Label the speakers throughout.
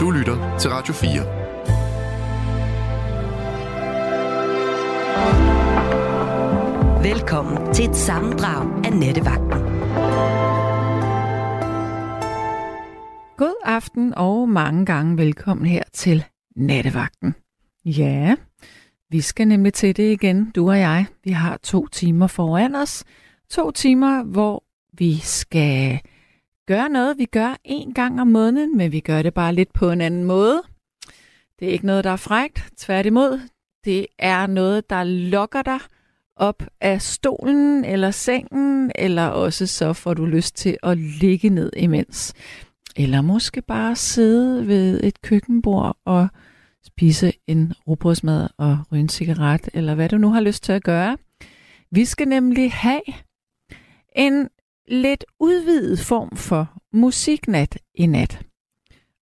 Speaker 1: Du lytter til Radio
Speaker 2: 4. Velkommen til et sammendrag af Nettevagten.
Speaker 3: God aften og mange gange velkommen her til Nattevagten. Ja, vi skal nemlig til det igen, du og jeg. Vi har to timer foran os. To timer, hvor vi skal gøre noget, vi gør en gang om måneden, men vi gør det bare lidt på en anden måde. Det er ikke noget, der er frægt. Tværtimod, det er noget, der lokker dig op af stolen eller sengen, eller også så får du lyst til at ligge ned imens. Eller måske bare sidde ved et køkkenbord og spise en robrødsmad og ryge en cigaret, eller hvad du nu har lyst til at gøre. Vi skal nemlig have en lidt udvidet form for musiknat i nat.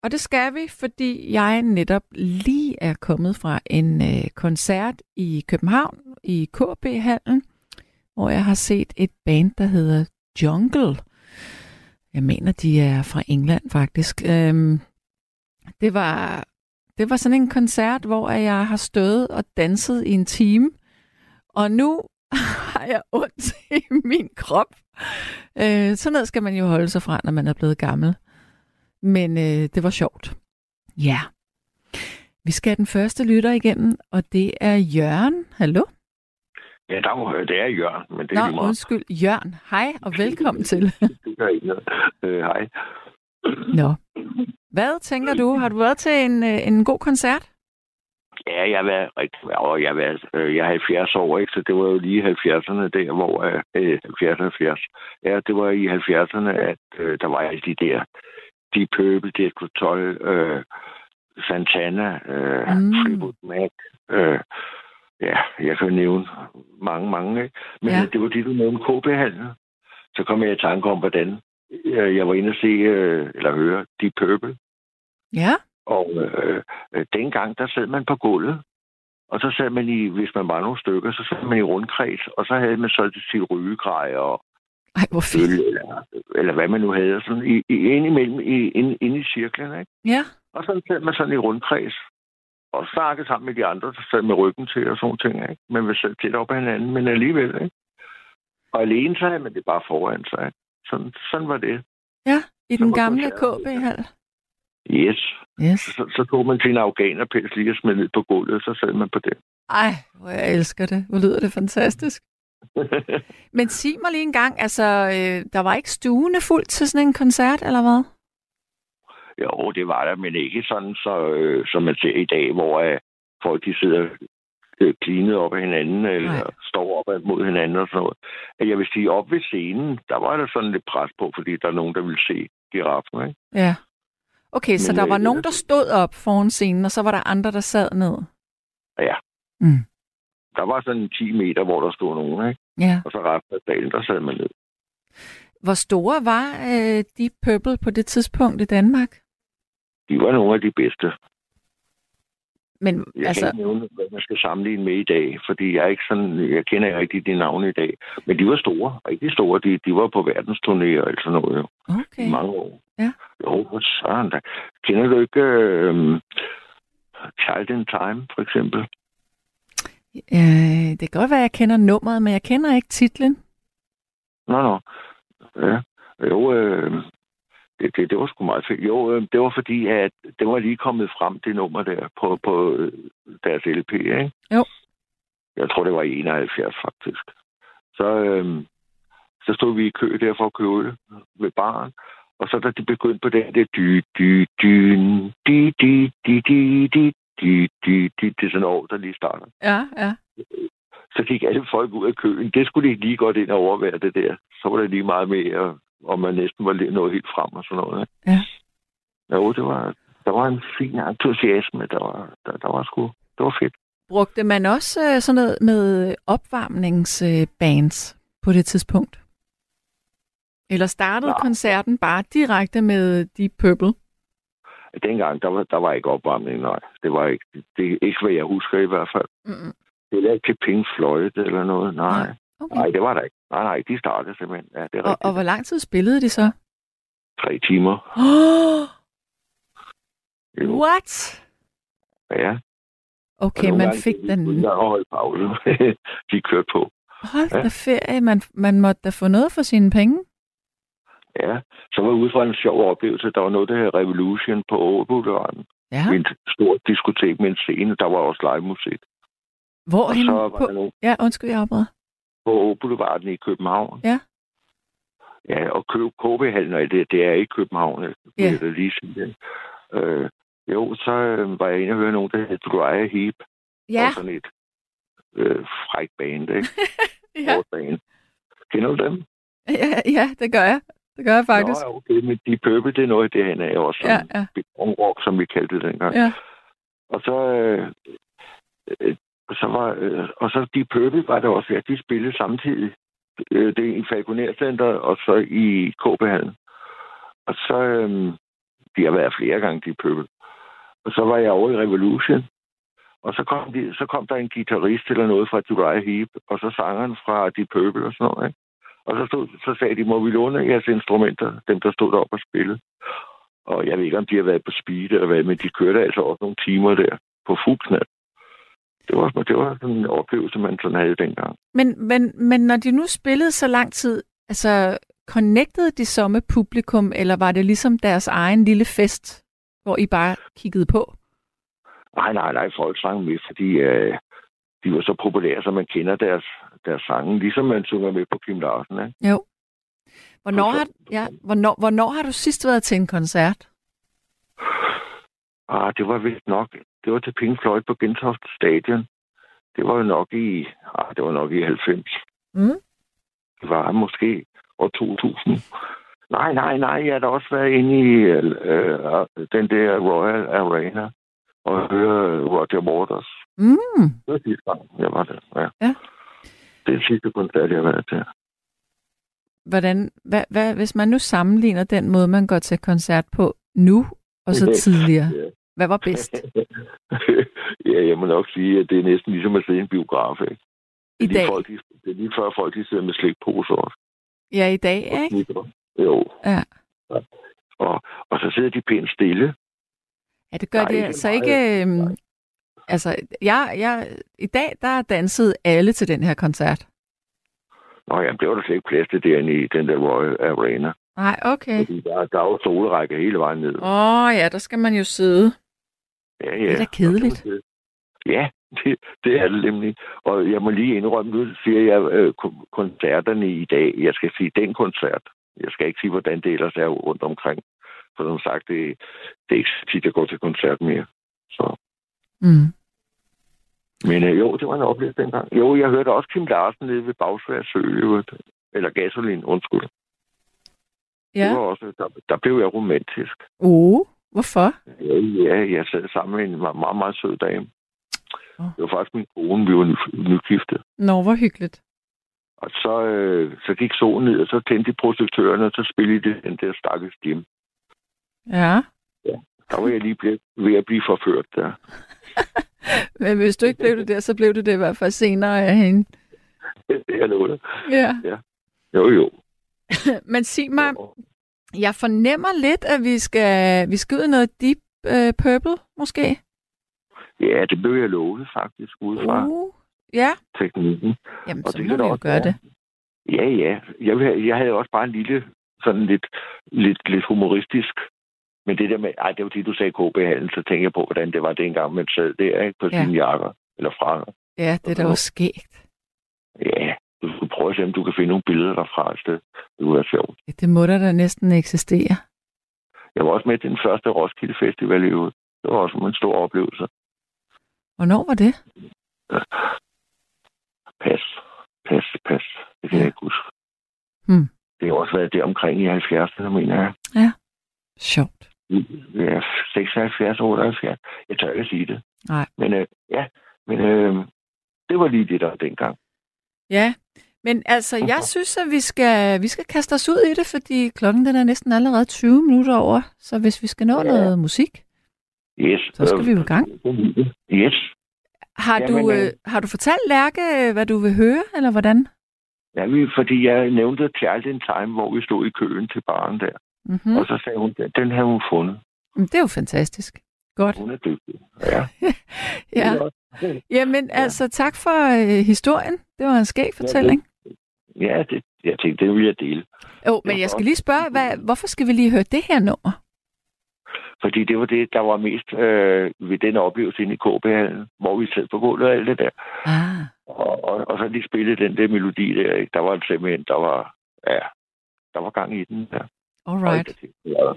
Speaker 3: Og det skal vi, fordi jeg netop lige er kommet fra en øh, koncert i København i KB-hallen, hvor jeg har set et band, der hedder Jungle. Jeg mener, de er fra England faktisk. Øhm, det, var, det var sådan en koncert, hvor jeg har stået og danset i en time, og nu har jeg ondt i min krop. Øh, sådan noget skal man jo holde sig fra, når man er blevet gammel. Men øh, det var sjovt. Ja. Vi skal have den første lytter igennem, og det er Jørgen. Hallo?
Speaker 4: Ja, der, det er Jørgen, men det er
Speaker 3: Nå,
Speaker 4: lige meget.
Speaker 3: undskyld. Jørgen, hej og velkommen til.
Speaker 4: det gør ikke noget. Øh, hej.
Speaker 3: Nå. Hvad tænker du? Har du været til en, øh, en god koncert?
Speaker 4: Ja, jeg var rigtig, og jeg var, øh, jeg er 70 år, ikke? så det var jo lige 70'erne der, hvor øh, 70 70. Ja, det var i 70'erne, at øh, der var alle de der, de pøbel, det skulle tøj, øh, Santana, øh,
Speaker 3: Mm.
Speaker 4: mm. Fleetwood Mac, øh, ja, jeg kan nævne mange, mange, ikke? Men
Speaker 3: Ja.
Speaker 4: ja. det var det, du nævnte, kb -handlen. Så kom jeg i tanke om, hvordan øh, jeg var inde og se, øh, eller høre, de pøbel.
Speaker 3: Ja.
Speaker 4: Og øh, øh, dengang, der sad man på gulvet, og så sad man i, hvis man var nogle stykker, så sad man i rundkreds, og så havde man så til rygegrejer og
Speaker 3: Ej, hvor
Speaker 4: øl,
Speaker 3: fedt.
Speaker 4: eller, eller hvad man nu havde, og sådan i, i, ind imellem, i, ind, ind i cirklen, ikke?
Speaker 3: Ja.
Speaker 4: Og så sad man sådan i rundkreds, og snakkede sammen med de andre, der sad med ryggen til og sådan nogle ting, ikke? Man var sad tæt op ad hinanden, men alligevel, ikke? Og alene, så havde man det bare foran sig, ikke? Sådan, sådan var det.
Speaker 3: Ja, i
Speaker 4: Så
Speaker 3: den
Speaker 4: var
Speaker 3: gamle
Speaker 4: koncerten.
Speaker 3: KB-hal.
Speaker 4: Yes.
Speaker 3: Yes.
Speaker 4: Så, så tog man sin afghanerpils lige og smed ned på gulvet, og så sad man på det.
Speaker 3: Ej, hvor jeg elsker det. Hvor lyder det fantastisk. Men sig mig lige en gang, altså, øh, der var ikke stuene fuldt til sådan en koncert, eller hvad?
Speaker 4: Jo, det var der, men ikke sådan, så, øh, som man ser i dag, hvor øh, folk de sidder øh, klinet op af hinanden, øh, eller
Speaker 3: Nej.
Speaker 4: Nej. står op ad- mod hinanden og sådan noget. At jeg vil sige, op ved scenen, der var der sådan lidt pres på, fordi der er nogen, der ville se giraffen, ikke?
Speaker 3: Ja. Okay, så
Speaker 4: Men,
Speaker 3: der var
Speaker 4: øh,
Speaker 3: nogen, der stod op foran scenen, og så var der andre, der sad ned.
Speaker 4: Mm. Der var sådan 10 meter, hvor der stod nogen, ikke?
Speaker 3: Ja.
Speaker 4: Og så resten af dagen, der sad man ned.
Speaker 3: Hvor store var øh, Deep Purple på det tidspunkt i Danmark?
Speaker 4: De var nogle af de bedste.
Speaker 3: Men
Speaker 4: Jeg altså... kan
Speaker 3: altså,
Speaker 4: ikke nævne, hvad man skal sammenligne med i dag, fordi jeg er ikke sådan, jeg kender ikke rigtig de navne i dag. Men de var store, rigtig store. De, de var på verdensturnéer og alt sådan noget, jo.
Speaker 3: okay.
Speaker 4: i mange år.
Speaker 3: Ja.
Speaker 4: Jo, for søren da. Kender du ikke øh, Child in Time, for eksempel?
Speaker 3: Øh, det kan godt være, at jeg kender nummeret, men jeg kender ikke titlen.
Speaker 4: Nå, nå. Ja. Jo, øh, det, det, det var sgu meget fedt. Jo, øh, det var fordi, at det var lige kommet frem, det nummer der, på, på øh, deres LP, ikke?
Speaker 3: Jo.
Speaker 4: Jeg tror, det var i 71, faktisk. Så, øh, så stod vi i kø der for at købe øl ved baren, og så da de begyndte på den der dy, dy, dyn, di, di, di, di, di, di, di, di, det er sådan over, der lige starter.
Speaker 3: Ja, ja.
Speaker 4: så gik alle folk ud af køen. Det skulle de ikke lige godt ind og overvære det der. Så var det lige meget mere, og man næsten var lidt nået helt frem og sådan noget. ikke?
Speaker 3: Ja.
Speaker 4: Jo, det var, der var en fin entusiasme. Der var, der, der var sgu, det var fedt.
Speaker 3: Brugte man også øh, sådan noget med opvarmningsbands øh, på det tidspunkt? Eller startede
Speaker 4: Nej.
Speaker 3: koncerten bare direkte med Deep Purple?
Speaker 4: Dengang, der var, der var ikke opvarmning, nej. Det var ikke, det er ikke, hvad jeg husker i hvert fald.
Speaker 3: Mm-mm.
Speaker 4: Det var ikke til Pink Floyd eller noget, nej.
Speaker 3: Nej, Okay.
Speaker 4: Nej, det var der ikke. Nej, nej, de startede simpelthen. Ja, det er
Speaker 3: Og,
Speaker 4: rigtigt.
Speaker 3: og hvor lang tid spillede de så?
Speaker 4: Tre timer.
Speaker 3: Oh,
Speaker 4: Jo.
Speaker 3: What?
Speaker 4: Ja. Og
Speaker 3: Okay,
Speaker 4: nogle
Speaker 3: man
Speaker 4: gange
Speaker 3: fik
Speaker 4: gik vi
Speaker 3: den.
Speaker 4: uden at holde pause. de kørte på.
Speaker 3: Hold
Speaker 4: Ja.
Speaker 3: da ferie, man, man måtte da få noget for sine penge.
Speaker 4: Ja. Så var jeg ude for en sjov oplevelse. Der var noget, der hed Revolution på Åboulevarden.
Speaker 3: Ja,
Speaker 4: Ja. Min stort diskotek med en scene. Der var også livemusik.
Speaker 3: hvor
Speaker 4: Og så
Speaker 3: henne?
Speaker 4: var
Speaker 3: På,
Speaker 4: der nogen
Speaker 3: ja, undskyld, jeg afbryder.
Speaker 4: på Åboulevarden i København.
Speaker 3: Ja.
Speaker 4: Ja, og Kø- KB-hallen og alt det, det er i København, vil
Speaker 3: Ja.
Speaker 4: jeg da lige sige det. Øh, jo, så øh, var jeg inde og høre nogen, der hed Dry Heap.
Speaker 3: Ja,
Speaker 4: Og sådan et øh, fræk band, ikke?
Speaker 3: ja,
Speaker 4: Ja. Band. Kender du dem?
Speaker 3: ja, ja, det gør jeg. Det gør jeg faktisk.
Speaker 4: Nå, ja, okay, men de pøbel, det er noget, det han er også.
Speaker 3: Ja,
Speaker 4: Sådan,
Speaker 3: ja,
Speaker 4: ja. rock, som vi kaldte det dengang.
Speaker 3: ja.
Speaker 4: Og så... Øh, øh, så var, øh, og så de pøbel var det også, ja, de spillede samtidig. Øh, det er i Falconer og så i kb -hallen. Og så, øh, de har været flere gange, de pøbel. Og så var jeg over i Revolution. Og så kom, de, så kom der en guitarist eller noget fra Dubai Heap, og så sangeren fra De Pøbel og sådan noget. Ikke? Og så, stod, så sagde de, må vi låne jeres instrumenter, dem der stod deroppe og spillede. Og jeg ved ikke, om de har været på speed eller hvad, men de kørte altså også nogle timer der på fuld knald. Det var, det var sådan en oplevelse, man sådan havde dengang.
Speaker 3: Men, men, men når de nu spillede så lang tid, altså connectede de så med publikum, eller var det ligesom deres egen lille fest, hvor I bare kiggede på?
Speaker 4: Nej, nej, nej, folk sang med, fordi øh, de var så populære, så man kender deres, deres sange, ligesom man synger med på Kim Larsen. Ikke?
Speaker 3: Jo. Hvornår har,
Speaker 4: Koncert.
Speaker 3: ja, hvornår, hvornår har du sidst været til en koncert?
Speaker 4: Ah, det var vist nok. Det var til Pink Floyd på Gentofte Stadion. Det var jo nok i, ah, det var nok i 90.
Speaker 3: Mm.
Speaker 4: Det var måske år 2000. Nej, nej, nej, jeg har da også været inde i øh, den der Royal Arena og høre Roger Waters.
Speaker 3: Mm.
Speaker 4: Det var sidste gang, jeg var der. Ja.
Speaker 3: Ja.
Speaker 4: Det er den sidste koncert, jeg har været til.
Speaker 3: Hvordan, hvad, hvad, hvis man nu sammenligner den måde, man går til koncert på nu, og
Speaker 4: I dag.
Speaker 3: så tidligere,
Speaker 4: Ja.
Speaker 3: hvad var bedst?
Speaker 4: ja, jeg må nok sige, at det er næsten ligesom at se en biograf, ikke?
Speaker 3: I
Speaker 4: Det er lige
Speaker 3: dag?
Speaker 4: Folk, de, det er lige før folk, de sidder med slikposer og
Speaker 3: Ja, i dag, ikke?
Speaker 4: Ikke? Jo.
Speaker 3: Ja.
Speaker 4: Og, og så sidder de pænt stille.
Speaker 3: Ja, det gør
Speaker 4: Der er
Speaker 3: det
Speaker 4: ikke
Speaker 3: altså
Speaker 4: meget-
Speaker 3: ikke... Øhm,
Speaker 4: nej.
Speaker 3: altså, jeg, jeg, i dag, der dansede alle til den her koncert.
Speaker 4: Nå ja, det var der slet ikke plads til derinde i den der Royal Arena.
Speaker 3: Nej, okay.
Speaker 4: Fordi der, der er jo solrække hele vejen ned.
Speaker 3: Åh oh, ja, der skal man jo sidde.
Speaker 4: Ja, ja.
Speaker 3: Det er da kedeligt.
Speaker 4: Ja, det, det er det nemlig. Og jeg må lige indrømme, nu siger jeg øh, kon- koncerterne i dag. Jeg skal sige den koncert. Jeg skal ikke sige, hvordan det ellers er rundt omkring. For som sagt, det, det er ikke så tit, jeg går til koncert mere. Så.
Speaker 3: Mm.
Speaker 4: Men øh, jo, det var en oplevelse dengang. Jo, jeg hørte også Kim Larsen nede ved Bagsvær Sø, i øvrigt. eller Gasolin, undskyld. Det
Speaker 3: Ja.
Speaker 4: var også, der, der blev jeg romantisk.
Speaker 3: Oh, hvorfor?
Speaker 4: Ja, ja, jeg sad sammen med en meget, meget, meget sød dame.
Speaker 3: Åh.
Speaker 4: Det var faktisk min kone, vi var ny- nygifte.
Speaker 3: Nå, hvor hyggeligt.
Speaker 4: Og så, øh, så gik solen ned, og så tændte de projektørerne, og så spillede de den der stakkels Jim.
Speaker 3: Ja.
Speaker 4: Der var jeg lige blevet, ved at blive forført der.
Speaker 3: Men hvis du ikke blev det der, så blev det det i hvert fald senere af hende.
Speaker 4: Jeg lover det.
Speaker 3: Ja.
Speaker 4: Jo, jo.
Speaker 3: Men sig mig, jeg fornemmer lidt, at vi skal, vi skal ud i noget deep uh, purple, måske?
Speaker 4: Ja, det blev jeg lovet faktisk, ud fra uh.
Speaker 3: Uh. Ja,
Speaker 4: teknikken.
Speaker 3: jamen
Speaker 4: Og
Speaker 3: så
Speaker 4: det
Speaker 3: må
Speaker 4: kan der
Speaker 3: vi jo
Speaker 4: også
Speaker 3: gøre
Speaker 4: være.
Speaker 3: det.
Speaker 4: Ja, ja. Jeg, vil have- jeg havde også bare en lille, sådan lidt, lidt, lidt humoristisk. Men det der med, ej, det var fordi, du sagde KB-handel, så tænker jeg på, hvordan det var dengang, man sad der, ikke, på
Speaker 3: Ja.
Speaker 4: ja. sine jakker eller frakker.
Speaker 3: Ja, det er da også skægt.
Speaker 4: Ja, du skulle prøve at se, om du kan finde nogle billeder derfra et sted. Det kunne være sjovt.
Speaker 3: Ja, Det må der da næsten eksistere.
Speaker 4: Jeg var også med til den første Roskilde Festival i øvrigt. Det var også en stor oplevelse.
Speaker 3: Hvornår var det?
Speaker 4: Pas, pas, pas. Det kan jeg ikke huske.
Speaker 3: Hmm.
Speaker 4: Det har også været der omkring i 70'erne, mener jeg.
Speaker 3: Sjovt.
Speaker 4: Ja, 76, 78. Jeg tør ikke sige det.
Speaker 3: Nej.
Speaker 4: Men øh, ja, men øh, det var lige det, der var dengang.
Speaker 3: Ja, men altså, jeg synes, at vi skal, vi skal kaste os ud i det, fordi klokken den er næsten allerede 20 minutter over. Så hvis vi skal nå
Speaker 4: Ja.
Speaker 3: noget musik,
Speaker 4: Yes.
Speaker 3: så skal
Speaker 4: øh,
Speaker 3: vi jo i gang.
Speaker 4: Yes.
Speaker 3: Har, du,
Speaker 4: Jamen, øh.
Speaker 3: øh, har du fortalt Lærke, øh, hvad du vil høre, eller hvordan?
Speaker 4: Ja, vi- fordi jeg nævnte Child in Time, hvor vi stod i køen til baren der.
Speaker 3: Mm-hmm.
Speaker 4: Og så sagde hun, den havde hun fundet.
Speaker 3: Det er jo fantastisk. Godt.
Speaker 4: Hun er dygtig. Ja.
Speaker 3: Ja.
Speaker 4: Det er godt.
Speaker 3: Jamen, altså tak for øh, historien. Det var en skæg fortælling.
Speaker 4: ja det, jeg tænkte, det vil jeg dele.
Speaker 3: Jo, oh, men
Speaker 4: var
Speaker 3: jeg skal
Speaker 4: godt.
Speaker 3: lige spørge, hvad, hvorfor skal vi lige høre det her nummer?
Speaker 4: Fordi det var det, der var mest øh, ved den oplevelse inde i kb hvor vi sad på gulvet og alt det der.
Speaker 3: Ah,
Speaker 4: Og, og, og så lige spillede den der melodi der, ikke? Der var simpelthen, der var, ja, der var gang i den der.
Speaker 3: alright.
Speaker 4: Det var, det var,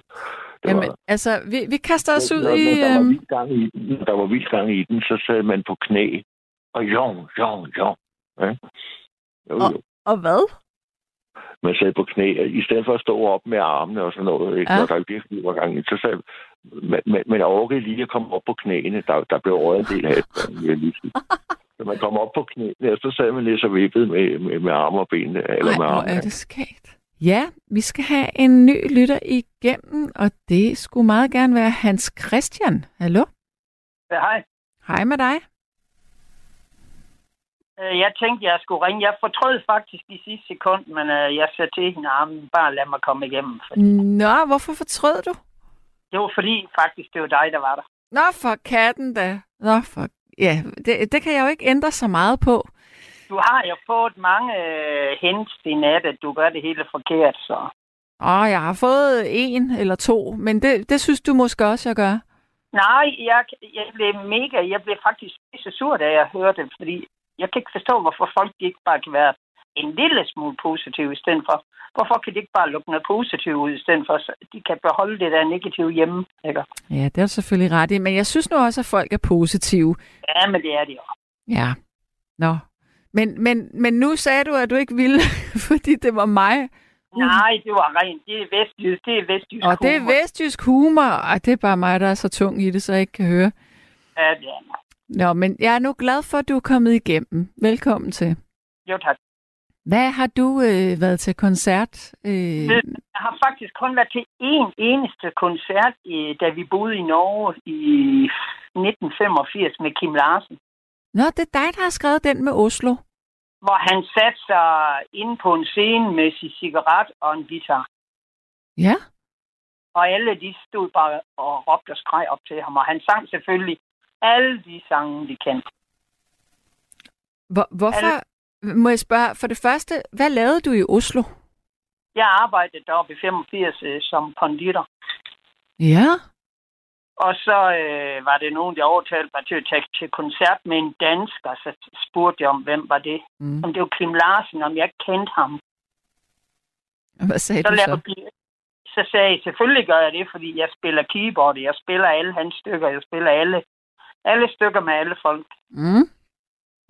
Speaker 3: Jamen, altså, vi, vi kaster os ud
Speaker 4: Når-
Speaker 3: i...
Speaker 4: når Der var
Speaker 3: øhm,
Speaker 4: vild gang i den, når der var vild gang i den, så sad man på knæ og jong, jong, jong. Ja? Jo,
Speaker 3: Og-
Speaker 4: jo.
Speaker 3: Og hvad?
Speaker 4: Man sad på knæ, og i stedet for at stå op med armene og sådan noget, ikke?
Speaker 3: Ja.
Speaker 4: Ja. når der virkelig var gang i den, så sad man, man, man orkede lige at komme op på knæene. Der, der blev røget en del af det, jeg lige sige. Så man kom op på knæene, og så sad man lidt så vippet med, med, med arme og benene. Eller
Speaker 3: Ej,
Speaker 4: med
Speaker 3: hvor
Speaker 4: armene.
Speaker 3: er det skægt. Ja, vi skal have en ny lytter igennem, og det skulle meget gerne være Hans Christian. Hallo?
Speaker 1: Ja, Øh, hej.
Speaker 3: Hej med dig.
Speaker 1: Øh, Jeg tænkte, jeg skulle ringe. Jeg fortrød faktisk i sidste sekund, men øh, jeg sagde til hende, "Ah, men bare lad mig komme igennem. For
Speaker 3: Nå, hvorfor fortrød du?
Speaker 1: det var fordi, faktisk, det var dig, der var der.
Speaker 3: Nå, for katten da. Nå, for... Ja, det, det kan jeg jo ikke ændre så meget på.
Speaker 1: Du har jo fået mange øh, hints i nat, at du gør det hele forkert, så...
Speaker 3: Åh, jeg har fået en eller to, men det, det synes du måske også, jeg gør.
Speaker 1: Nej, jeg, jeg blev mega... Jeg blev faktisk så sur, da jeg hørte det, fordi jeg kan ikke forstå, hvorfor folk ikke bare kan være en lille smule positive i stedet for. Hvorfor kan de ikke bare lukke noget positivt ud i stedet for, så de kan beholde det der negative hjemme, ikke?
Speaker 3: Ja, det er du selvfølgelig ret i, men jeg synes nu også, at folk er positive.
Speaker 1: Ja, men det er det jo.
Speaker 3: Ja. Nå. Men, men, men nu sagde du, at du ikke ville, fordi det var mig.
Speaker 1: Nej, det var rent. Det er vestjysk. Det er vestjysk.
Speaker 3: Mm. Og det er
Speaker 1: humor.
Speaker 3: vestjysk humor, og det er bare mig, der er så tung i det, så jeg ikke kan høre.
Speaker 1: Ja, det er det.
Speaker 3: Nå, men jeg er nu glad for, at du er kommet igennem. Velkommen til.
Speaker 1: Jo, tak.
Speaker 3: Hvad har du øh, været til koncert? Øh,
Speaker 1: Det- Jeg har faktisk kun været til én eneste koncert, øh, da vi boede i Norge i 1985 med Kim Larsen,
Speaker 3: Nå, det er dig, der har skrevet den med Oslo.
Speaker 1: hvor han satte sig inde på en scene med sin cigaret og en guitar.
Speaker 3: Ja.
Speaker 1: Og alle de stod bare og råbte og skreg op til ham, og han sang selvfølgelig alle de sange, de kendte.
Speaker 3: Hvor, hvorfor, må jeg spørge, for det første, hvad lavede du i Oslo?
Speaker 1: Jeg arbejdede deroppe i 85 øh, som konditor.
Speaker 3: Ja.
Speaker 1: Og så øh, var det nogen, der overtalte mig til at tage til koncert med en dansker. Så spurgte jeg om, hvem var det.
Speaker 3: Mm.
Speaker 1: Om det var Kim Larsen, om jeg ikke kendte ham.
Speaker 3: Og Hvad sagde
Speaker 1: Så,
Speaker 3: du så?
Speaker 1: lavede de, så sagde jeg, selvfølgelig gør jeg det, fordi jeg spiller keyboard. Jeg spiller alle hans stykker. Jeg spiller alle, alle stykker med alle folk.
Speaker 3: Mm.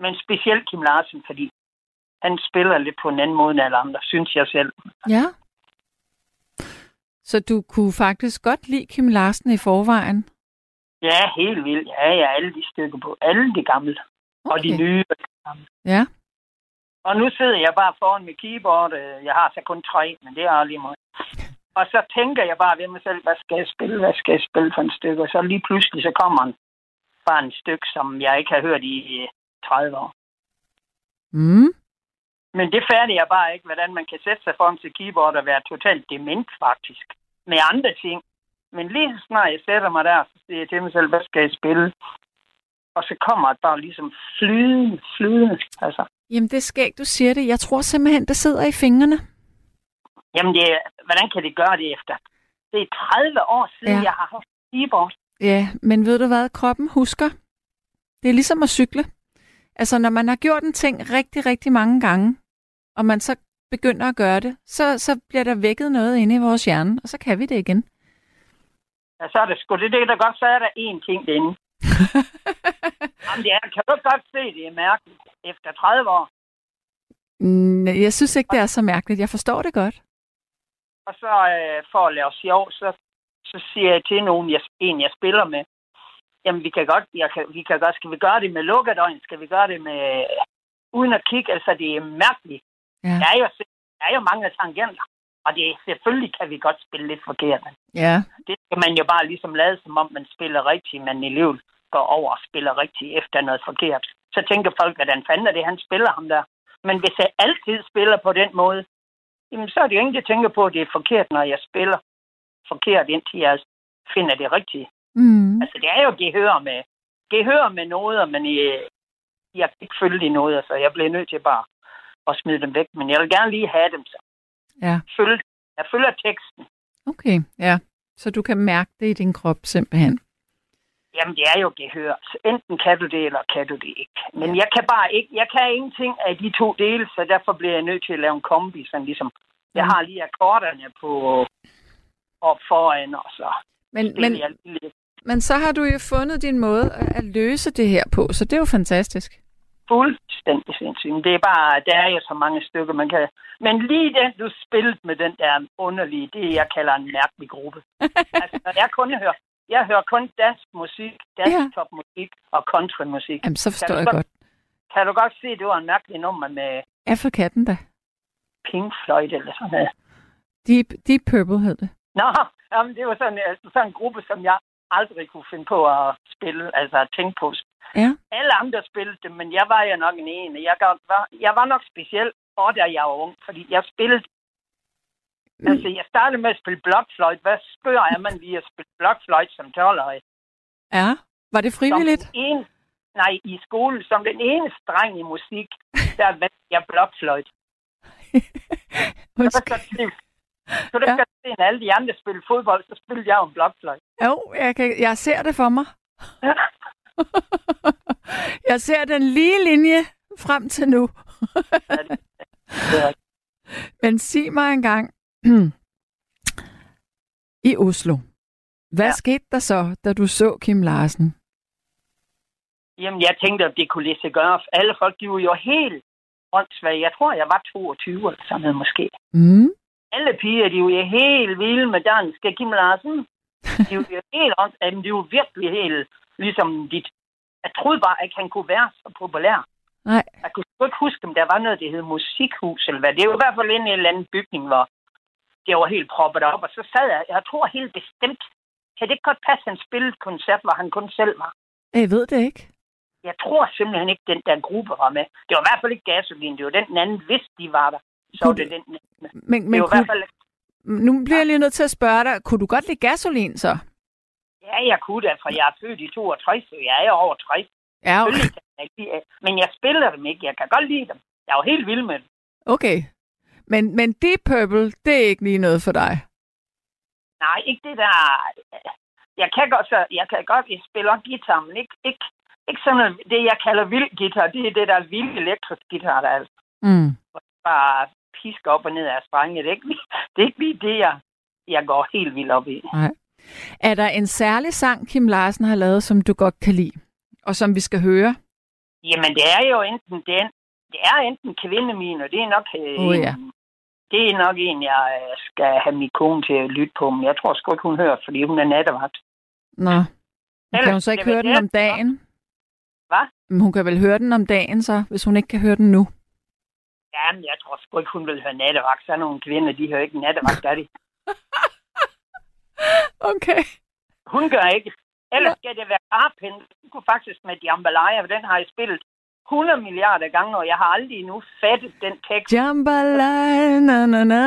Speaker 1: Men specielt Kim Larsen, fordi han spiller lidt på en anden måde end alle andre, synes jeg selv.
Speaker 3: Ja. Så du kunne faktisk godt lide Kim Larsen i forvejen?
Speaker 1: Ja, helt vildt. Ja, ja, alle de stykker på. Alle de gamle. Okay. Og de nye.
Speaker 3: Ja.
Speaker 1: Og nu sidder jeg bare foran mit keyboard. Øh, Jeg har så kun tre, men det er lige meget. Og så tænker jeg bare ved mig selv, hvad skal jeg spille, hvad skal jeg spille for en stykke? Og så lige pludselig, så kommer en, bare en stykke, som jeg ikke har hørt i øh, 30 år.
Speaker 3: Mm.
Speaker 1: Men det fatter jeg bare ikke, hvordan man kan sætte sig foran sit keyboard og være totalt dement faktisk. Med andre ting. Men lige så snart jeg sætter mig der, så siger jeg til mig selv, hvad skal jeg spille? Og så kommer det bare ligesom flydende, flydende. Altså,
Speaker 3: Jamen, det er skægt, du siger det. Jeg tror simpelthen, det sidder i fingrene.
Speaker 1: Jamen, det, er- hvordan kan det gøre det efter? Det er 30 år siden,
Speaker 3: Ja.
Speaker 1: ja. jeg har haft keyboard.
Speaker 3: Ja, men ved du hvad? Kroppen husker. Det er ligesom at cykle. Altså, når man har gjort en ting rigtig, rigtig mange gange, og man så begynder at gøre det, så, så bliver der vækket noget inde i vores hjerne, og så kan vi det igen.
Speaker 1: Ja, så er det sgu det, det der godt, så er der én ting derinde. Jamen, det er, kan du ikke godt se, det er mærkeligt efter 30 år.
Speaker 3: Mm, Jeg synes ikke, det er så mærkeligt. Jeg forstår det godt.
Speaker 1: Og så øh, for at lave sjov, så, så siger jeg til nogen, jeg, en jeg spiller med, jamen vi kan godt, jeg kan, vi kan godt, skal vi gøre det med lukkedøgn, skal vi gøre det med, uden at kigge, altså det er mærkeligt.
Speaker 3: Ja.
Speaker 1: Der, er jo, der er jo mange tangenter, og det er, selvfølgelig kan vi godt spille lidt forkert.
Speaker 3: Ja.
Speaker 1: Det skal man jo bare ligesom lade, som om man spiller rigtigt, men i livet går over og spiller rigtigt efter noget forkert. Så tænker folk, hvordan fanden er det, han spiller ham der. Men hvis jeg altid spiller på den måde, jamen, så er det jo ingen, der tænker på, at det er forkert, når jeg spiller forkert, indtil jeg finder det rigtige.
Speaker 3: Mm.
Speaker 1: Altså, det er jo, det hører med. Det hører med noget, men jeg, jeg kan ikke følge de noget, så jeg bliver nødt til bare at smide dem væk. Men jeg vil gerne lige have dem, så
Speaker 3: Ja,
Speaker 1: følge, jeg følger teksten.
Speaker 3: okay. Ja. Så du kan mærke det i din krop simpelthen.
Speaker 1: Jamen, det er jo gehør. Så Enten kan du det, eller kan du det ikke. Men jeg kan bare ikke, jeg kan ingenting af de to dele, så derfor bliver jeg nødt til at lave en kombi, sådan ligesom, jeg
Speaker 3: Mm.
Speaker 1: har lige akkorderne på op foran, og så
Speaker 3: Men, men,
Speaker 1: spiller jeg lige lidt.
Speaker 3: men så har du jo fundet din måde at at løse det her på, så det er jo fantastisk.
Speaker 1: fuldstændig sindssygt. Men Det er bare, der er jo så mange stykker, man kan... Men lige den, du spillede med den der underlige, det er, jeg kalder en mærkelig gruppe. altså, når jeg kun hører, jeg hører kun dansk musik, dansk
Speaker 3: Ja.
Speaker 1: ja. topmusik og countrymusik.
Speaker 3: Jamen, så forstår
Speaker 1: du
Speaker 3: jeg
Speaker 1: godt-
Speaker 3: godt.
Speaker 1: Kan du godt se, det var en mærkelig nummer med
Speaker 3: Er for katten da?
Speaker 1: Pink Floyd eller sådan noget?
Speaker 3: Deep, Deep Purple hed det.
Speaker 1: Nå, jamen, det var sådan, altså, sådan en gruppe, som jeg aldrig kunne finde på at spille, altså at tænke på.
Speaker 3: Ja.
Speaker 1: Alle andre spillede det, men jeg var jo nok en ene. Jeg gav- var, jeg var nok speciel, og da jeg var ung, fordi jeg spillede
Speaker 3: Mm.
Speaker 1: Altså, jeg startede med at spille blokfløjt. Hvad spørger er man lige at spille blokfløjt som 12-årig?
Speaker 3: Ja. Var det
Speaker 1: Som
Speaker 3: frivilligt?
Speaker 1: den ene- nej, i skolen, som den eneste dreng i musik, der valgte jeg blokfløjt. Så var
Speaker 3: Undskyld.
Speaker 1: det tvivl. Så det
Speaker 3: Ja.
Speaker 1: ja. se, når alle de andre spille fodbold, så spillede jeg jo en blokfløjt.
Speaker 3: Jo, jeg, kan, jeg ser det for mig. jeg ser den lige linje frem til nu.
Speaker 1: Ja.
Speaker 3: Men sig mig engang, i Oslo, hvad ja.
Speaker 1: Ja.
Speaker 3: skete der så, da du så Kim Larsen?
Speaker 1: Jamen, jeg tænkte, at det kunne lade sig gøre. Alle folk, de var jo helt åndssvage. Jeg tror, jeg var 22 eller sådan noget måske.
Speaker 3: Mm.
Speaker 1: alle piger, de er jo helt vilde med danske Kim Larsen. De er jo helt ånds, at de er jo virkelig helt, ligesom dit. Jeg troede bare, at han kunne være så populær.
Speaker 3: Nej.
Speaker 1: Jeg kunne sgu ikke huske, om der var noget, det hed Musikhus, eller hvad. Det er jo i hvert fald en eller anden bygning, hvor det var helt proppet op. Og så sad jeg, jeg tror helt bestemt, kan det ikke godt passe, at han spillede et koncert, hvor han kun selv var?
Speaker 3: Jeg ved det ikke.
Speaker 1: Jeg tror simpelthen ikke, den der gruppe var med. Det var i hvert fald ikke gasolin, det var den den anden, hvis de var der. Så var
Speaker 3: Kunne
Speaker 1: det den anden.
Speaker 3: Men,
Speaker 1: Det
Speaker 3: men
Speaker 1: var i hvert
Speaker 3: kunne,
Speaker 1: fald
Speaker 3: nu bliver jeg lige nødt til at spørge dig, kunne du godt lide gasolin så?
Speaker 1: Ja, jeg kunne da, for jeg er født i 62, så jeg er over 60.
Speaker 3: Ja, okay.
Speaker 1: Selvfølgelig kan jeg lide det, Men jeg spiller dem ikke. Jeg kan godt lide dem. Jeg er jo helt vild med dem.
Speaker 3: okay. Men, men Deep Purple, det er ikke lige noget for dig.
Speaker 1: Nej, ikke det der... Jeg kan godt, så jeg kan godt jeg spiller også guitar, men ikke, ikke, ikke sådan noget, det, jeg kalder vild guitar. Det er det der vilde elektrisk guitar, der er altså
Speaker 3: Mm.
Speaker 1: bare pisker op og ned af strenge. Det er ikke, lige- det, er ikke lige det, jeg, jeg går helt vildt op i.
Speaker 3: Er der en særlig sang, Kim Larsen har lavet, som du godt kan lide? Og som vi skal høre?
Speaker 1: Jamen, det er jo enten den... Det er enten kvindemin, og det er nok... Øh,
Speaker 3: Åh, ja.
Speaker 1: en- Det er nok en, jeg øh, skal have min kone til at lytte på, men jeg tror sgu ikke, hun hører, fordi hun er nattevagt.
Speaker 3: Nå, men kan hun så
Speaker 1: det
Speaker 3: ikke
Speaker 1: vil
Speaker 3: høre den
Speaker 1: hjælpe,
Speaker 3: om dagen?
Speaker 1: Hvad?
Speaker 3: Men hun kan vel høre den om dagen så, hvis hun ikke kan høre den nu.
Speaker 1: Jamen, jeg tror sgu ikke, hun vil høre nattevagt. Sådan nogle kvinder, de hører ikke nattevagt, er de.
Speaker 3: Okay.
Speaker 1: Hun gør ikke. Ellers skal det være Arpen. Hun kunne faktisk med Jambalaya, for den har jeg spillet 100 milliarder gange, og jeg har aldrig endnu fattet den tekst.
Speaker 3: Jambalaya, na na na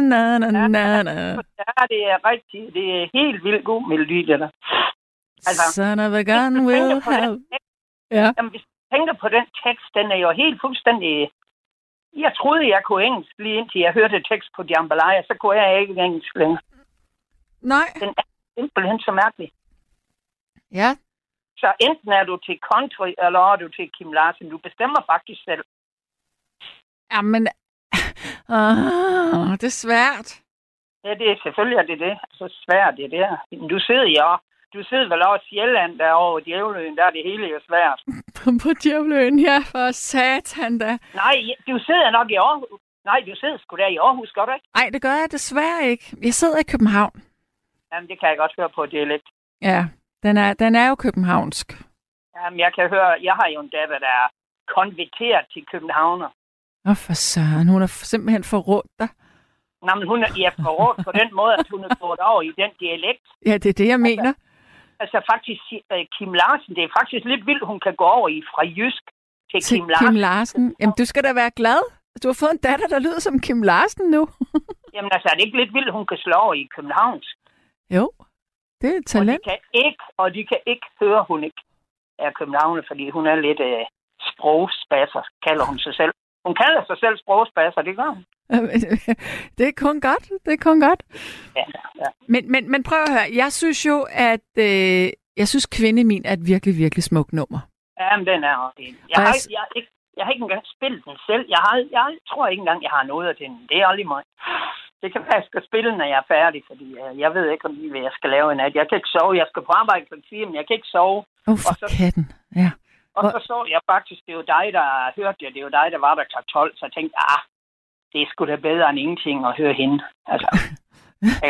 Speaker 3: na na na na.
Speaker 1: Der er det rigtig, det er helt vildt god melodi, det der. Altså,
Speaker 3: Son of a gun will have. Ja.
Speaker 1: Jamen, hvis jeg tænker på den tekst, den er jo helt fuldstændig... Jeg troede, jeg kunne engelsk lige indtil jeg hørte tekst på Jambalaya, så kunne jeg ikke engelsk længere.
Speaker 3: Nej.
Speaker 1: Simpelthen så mærkeligt.
Speaker 3: Ja.
Speaker 1: Så enten er du til country, eller er du til Kim Larsen. Du bestemmer faktisk selv.
Speaker 3: Jamen, ah, det er svært.
Speaker 1: Ja, det er selvfølgelig er det det. Så svært det der. Men du sidder jo... Du sidder vel over Sjælland derovre over Djævløen, der er det hele jo svært.
Speaker 3: På djævløen her for satan da.
Speaker 1: Nej, du sidder nok i Aarhus. Nej, du sidder sgu da i Aarhus, gør du ikke?
Speaker 3: Ej, det gør jeg desværre ikke. Jeg sidder i København.
Speaker 1: Jamen, det kan jeg godt høre på dialekt.
Speaker 3: Ja, den er, den er jo københavnsk.
Speaker 1: Jamen, jeg kan høre, jeg har jo en datter, der er konverteret til københavner.
Speaker 3: Åh, for søren. Hun har simpelthen forrådt dig.
Speaker 1: Nå, men hun er i efteråret på den måde, at hun er gået over i den dialekt.
Speaker 3: Ja, det er det, jeg mener.
Speaker 1: Altså faktisk, øh, Kim Larsen, det er faktisk lidt vildt, hun kan gå over i fra jysk til,
Speaker 3: til
Speaker 1: Kim Larsen.
Speaker 3: Kim Larsen. Jamen, du skal da være glad. Du har fået en datter, der lyder som Kim Larsen nu.
Speaker 1: Jamen altså, er det ikke lidt vildt, hun kan slå over i københavnsk?
Speaker 3: Jo. Det er talent.
Speaker 1: Og de kan ikke, og de kan ikke høre, hun ikke er københavner, fordi hun er lidt øh, sprogspasser, kalder hun sig selv. Hun kalder sig selv sprogspasser, det gør hun.
Speaker 3: det er kun godt. Det er kun godt.
Speaker 1: Ja, ja.
Speaker 3: Men, men, men prøv at høre. Jeg synes jo, at øh, jeg synes, Kvinde Min er et virkelig, virkelig smukt nummer.
Speaker 1: Jamen, den er også en. Jeg
Speaker 3: Og
Speaker 1: har,
Speaker 3: jeg
Speaker 1: ikke- jeg, har ikke, jeg har ikke engang spillet den selv. Jeg, har, jeg tror ikke engang, jeg har noget af den. Det er aldrig mig. Det kan være, jeg skal spille, når jeg er færdig, fordi øh, jeg ved ikke, om lige, hvad jeg skal lave i nat. Jeg kan ikke sove. Jeg skal på arbejde kl. 4, men jeg kan ikke sove.
Speaker 3: Åh, oh, for
Speaker 1: Og så-
Speaker 3: katten. Ja.
Speaker 1: Og
Speaker 3: Hvor-
Speaker 1: så så jeg faktisk, det er jo dig, der hørte det. Det er jo dig, der var der kl. 12. Så jeg tænkte, ah, det er sgu da bedre end ingenting at høre hende. Altså,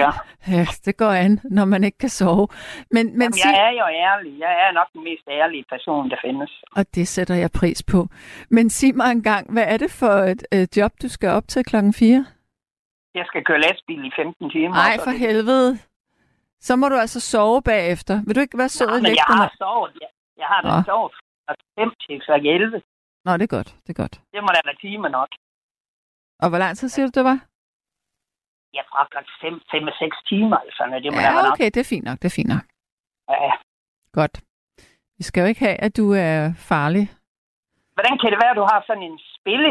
Speaker 1: ja.
Speaker 3: ja, det går an, når man ikke kan sove. Men, men
Speaker 1: Jamen,
Speaker 3: sig,
Speaker 1: jeg er jo ærlig. Jeg er nok den mest ærlige person, der findes.
Speaker 3: og det sætter jeg pris på. Men sig mig engang, hvad er det for et øh, job, du skal op til klokken 4?
Speaker 1: Jeg skal køre lastbil i 15 timer.
Speaker 3: Nej,
Speaker 1: så
Speaker 3: for
Speaker 1: det-
Speaker 3: helvede. Så må du altså sove bagefter. Vil du ikke være sød
Speaker 1: Nej,
Speaker 3: og
Speaker 1: men
Speaker 3: lægge
Speaker 1: jeg
Speaker 3: dig?
Speaker 1: har sovet. Jeg, jeg har da
Speaker 3: Nå.
Speaker 1: sovet fra 5 til fra 11.
Speaker 3: ned? Nå, det er godt. Det er godt.
Speaker 1: Det må da være timer nok.
Speaker 3: Og hvor lang tid siger du, det var?
Speaker 1: Jeg fra klokken 5, 5 og 6 timer, altså. men Det må da være
Speaker 3: Ja,
Speaker 1: nok.
Speaker 3: okay, det er fint nok. Det er fint nok.
Speaker 1: Ja.
Speaker 3: Godt. Vi skal jo ikke have, at du er farlig.
Speaker 1: Hvordan kan det være, at du har sådan en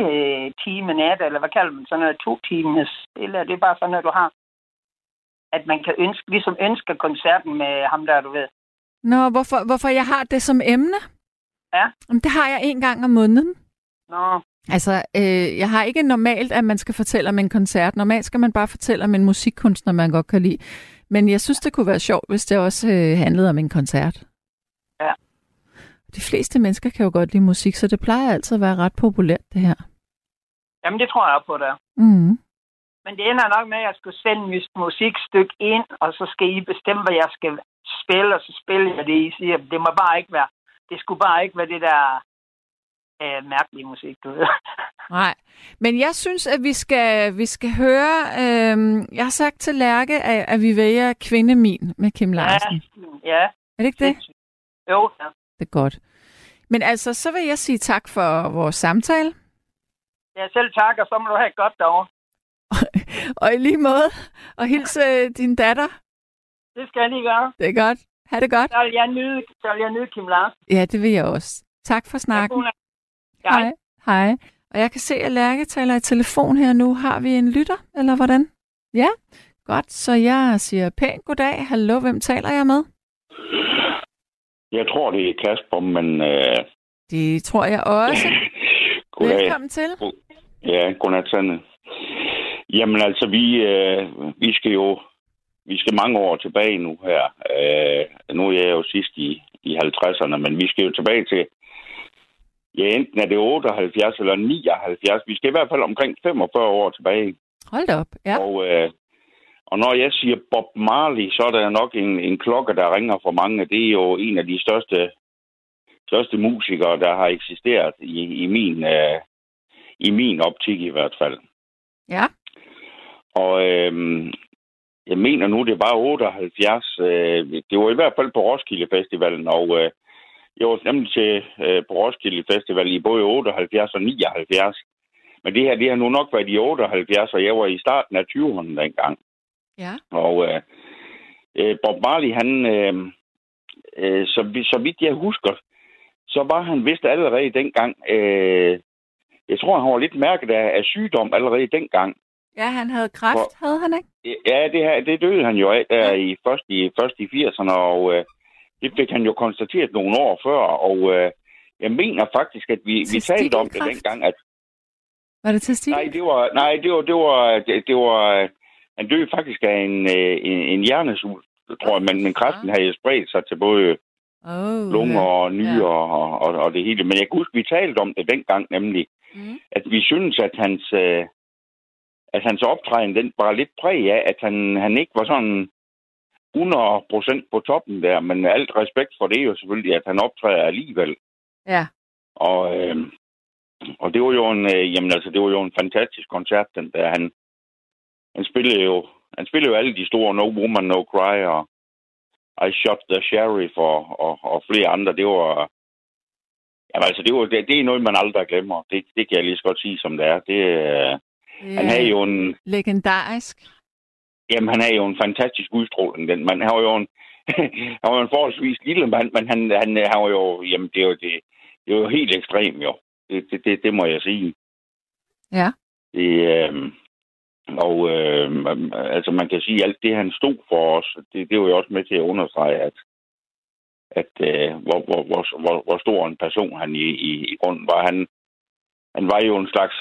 Speaker 1: spilletime nat, eller hvad kalder man sådan noget, to timers spille? Er det bare sådan noget, du har? At man kan ønske, ligesom ønsker koncerten med ham der, du ved.
Speaker 3: Nå, hvorfor, hvorfor jeg har det som emne?
Speaker 1: Ja.
Speaker 3: Jamen, det har jeg en gang om måneden.
Speaker 1: Nå,
Speaker 3: Altså, øh, jeg har ikke normalt, at man skal fortælle om en koncert. Normalt skal man bare fortælle om en musikkunstner, man godt kan lide. Men jeg synes, det kunne være sjovt, hvis det også øh, handlede om en koncert.
Speaker 1: Ja.
Speaker 3: De fleste mennesker kan jo godt lide musik, så det plejer altid at være ret populært, det her.
Speaker 1: jamen det tror jeg på dig.
Speaker 3: Mm.
Speaker 1: Men det ender nok med, at jeg skal sende mit musikstykke ind, og så skal I bestemme, hvad jeg skal spille, og så spiller jeg det, I siger. Det må bare ikke være, det skulle bare ikke være det der øh, mærkelige musik, du ved.
Speaker 3: Nej, men jeg synes, at vi skal, vi skal høre... Øh, jeg har sagt til Lærke, at, at vi vælger Kvinde Min med Kim Larsen. Ja.
Speaker 1: ja,
Speaker 3: Er det ikke det?
Speaker 1: sindssygt. Jo, ja.
Speaker 3: Det er godt. Men altså, så vil jeg sige tak for vores samtale.
Speaker 1: ja. selv tak, og så må du have et godt derovre.
Speaker 3: Og i lige måde, og hilse øh, din datter.
Speaker 1: Det skal jeg lige gøre.
Speaker 3: Det er godt. Ha' det godt.
Speaker 1: Så vil jeg nyde, så vil jeg nyde Kim Larsen.
Speaker 3: Ja, det vil jeg også. Tak for snakken.
Speaker 1: Hun er- Hej.
Speaker 3: Hej. Og jeg kan se, at Lærke taler i telefon her nu. Har vi en lytter, eller hvordan? Ja, godt. Så jeg siger pænt goddag. Hallo, hvem taler jeg med?
Speaker 5: Jeg tror, det er Kasper, men... Øh,
Speaker 3: Det tror jeg også.
Speaker 5: goddag.
Speaker 3: Velkommen til.
Speaker 5: Ja, godnat, Sande. Jamen altså, vi, øh, vi skal jo... Vi skal mange år tilbage nu her. Øh, nu er jeg jo sidst i, i 50'erne, men vi skal jo tilbage til... Ja, enten er det 78 eller 79. Vi skal i hvert fald omkring 45 år tilbage.
Speaker 3: Hold da op. Ja.
Speaker 5: Og, øh, og når jeg siger Bob Marley, så er der nok en, en klokke, der ringer for mange. Det er jo en af de største, største musikere, der har eksisteret i, i, min, øh, i min optik i hvert fald.
Speaker 3: Ja.
Speaker 5: Og øh, jeg mener nu, det var 78. Øh, det var i hvert fald på Roskilde Festivalen, og øh, jeg var nemlig til øh, på Roskilde Festival i både 78 og 79. Men det her, det har nu nok været i 78, og jeg var i starten af 20'erne dengang.
Speaker 3: Ja.
Speaker 5: Og øh, øh, Bob Marley, han, øh, øh, så, vi- så vidt jeg husker, så var han vist allerede dengang, øh, jeg tror, han var lidt mærket af, af sygdom allerede dengang.
Speaker 3: Ja, han havde kræft,
Speaker 5: Hvor-
Speaker 3: havde han ikke?
Speaker 5: Ja, det her, det døde han jo af der i, først, i, først i 80'erne, og øh, det fik han jo konstateret nogle år før, og øh, jeg mener faktisk, at vi, vi talte om det
Speaker 3: Testikelkræft?
Speaker 5: dengang, at
Speaker 3: Var det til Stig?
Speaker 5: Nej, det var, nej, det var, det var, det, det var, han døde faktisk af en, øh, en, en hjernesul, tror jeg, men, men kræften havde spredt sig til både
Speaker 3: Oh,
Speaker 5: lunger
Speaker 3: ja.
Speaker 5: og nyrer og, og, og det hele. Men jeg kan huske, vi talte om det dengang nemlig,
Speaker 3: Mhm.
Speaker 5: at vi synes, at hans, øh, at hans optræden, den var lidt præg af, at han, han ikke var sådan 100% på toppen der, men med alt respekt for det er jo selvfølgelig, at han optræder alligevel.
Speaker 3: ja.
Speaker 5: Og, øh, og det var jo en, øh, jamen, altså, det var jo en fantastisk koncert, den der. Han, han spillede jo, han spillede jo alle de store No Woman, No Cry og I Shot the Sheriff og, og, og flere andre. Det var, jamen, altså, det, var det, det, er noget, man aldrig glemmer. Det, det kan jeg lige så godt sige, som det er. Det, øh, han havde jo en,
Speaker 3: Legendarisk.
Speaker 5: Jamen, han er jo en fantastisk udstråling, den mand. Han var jo en, han var en forholdsvis lille mand, men han, han, han var jo... Jamen, det var, det, det var jo helt ekstremt, jo. Det, det, det, det må jeg sige.
Speaker 3: Ja.
Speaker 5: Det, øh, og øh, altså, man kan sige, at alt det, han stod for os, det, det var jo også med til at understrege, at, at øh, hvor, hvor, hvor, hvor, hvor stor en person han i, i, i grunden var. Han, han var jo en slags,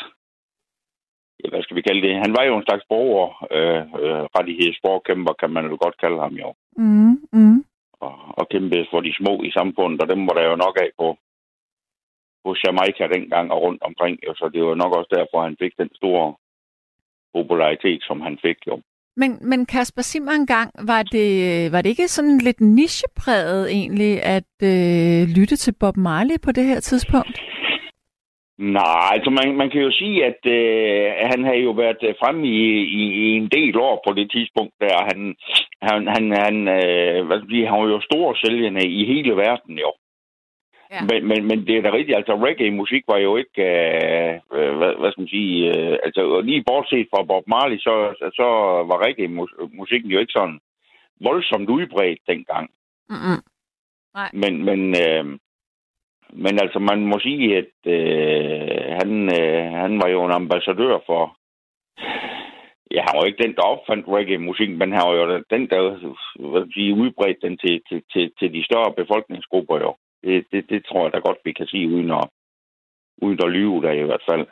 Speaker 5: ja, hvad skal vi kalde det? Han var jo en slags borgerrettighedsforkæmper, øh, øh, kan man jo godt kalde ham jo.
Speaker 3: Mm, mm.
Speaker 5: Og, og kæmpede for de små i samfundet, og dem var der jo nok af på, på Jamaica dengang og rundt omkring. Jo, så det var nok også derfor, han fik den store popularitet, som han fik jo.
Speaker 3: Men, men Kasper, sig mig engang, var det, øh, var det ikke sådan lidt nichepræget egentlig at øh, lytte til Bob Marley på det her tidspunkt?
Speaker 5: Nej, altså man, man kan jo sige, at øh, han har jo været fremme i, i, i en del år på det tidspunkt der. Han, han, han, han, øh, hvad skal sige, han var jo stor sælgende i hele verden jo. Ja. Men, men, men det er da rigtigt, altså reggae-musik var jo ikke, øh, hvad, hvad skal man sige, øh, altså lige bortset fra Bob Marley, så, så var reggae-musikken jo ikke sådan voldsomt udbredt dengang.
Speaker 3: Mm-mm. Nej.
Speaker 5: Men, men, øh, men altså man må sige, at øh, han, øh, han var jo en ambassadør for, ja, han var ikke den, der opfandt reggae-musikken, men han var jo den, der hvad skal sige, udbredte den til, til, til, til de større befolkningsgrupper jo. Det, det, det tror jeg da godt, vi kan sige, uden at, uden at lyve der i hvert fald.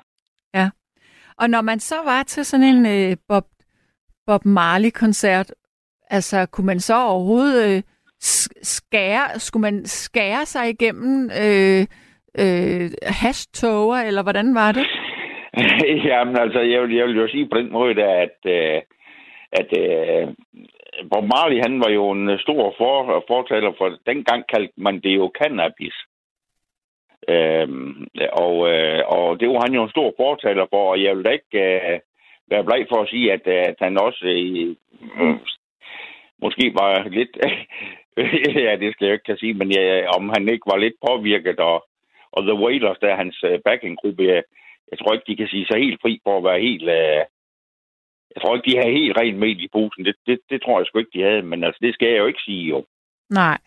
Speaker 3: Ja. Og når man så var til sådan en øh, Bob, Bob Marley-koncert, altså kunne man så overhovedet øh, skære, skulle man skære sig igennem øh, øh, hashtoger, eller hvordan var det?
Speaker 5: Jamen altså, jeg vil, jeg vil jo sige på den måde, der, at, øh, at øh, Bob Marley, han var jo en stor for, fortaler for, dengang kaldte man det jo cannabis. Øhm, og, øh, og det var han jo en stor fortaler for, og jeg vil da ikke øh, være bleg for at sige, at, at han også øh, øh måske var lidt... ja, det skal jeg ikke kan sige, men ja, om han ikke var lidt påvirket, og, og The Wailers, der er hans øh, backinggruppe, jeg, jeg tror ikke, de kan sige sig helt fri for at være helt... Øh, jeg tror ikke, de havde helt rent mel i posen. Det, det, det tror jeg sgu ikke, de havde. Men altså, det skal jeg jo ikke sige, jo.
Speaker 3: Nej.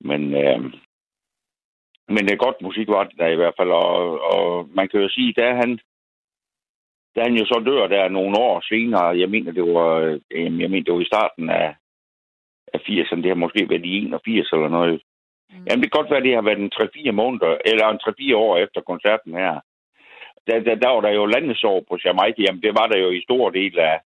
Speaker 5: Men, øh, men det er godt musik, var det der i hvert fald. Og, og man kan jo sige, da han, da han jo så dør der nogle år senere, jeg mener, det var, øh, jeg mener, det var i starten af, af 80'erne, det har måske været i 81 eller noget. Mm. Jamen, det kan godt være, det har været en 3-4 måneder, eller en 3-4 år efter koncerten her der, der, der var der jo landesår på Jamaica. Jamen, det var der jo i stor del af...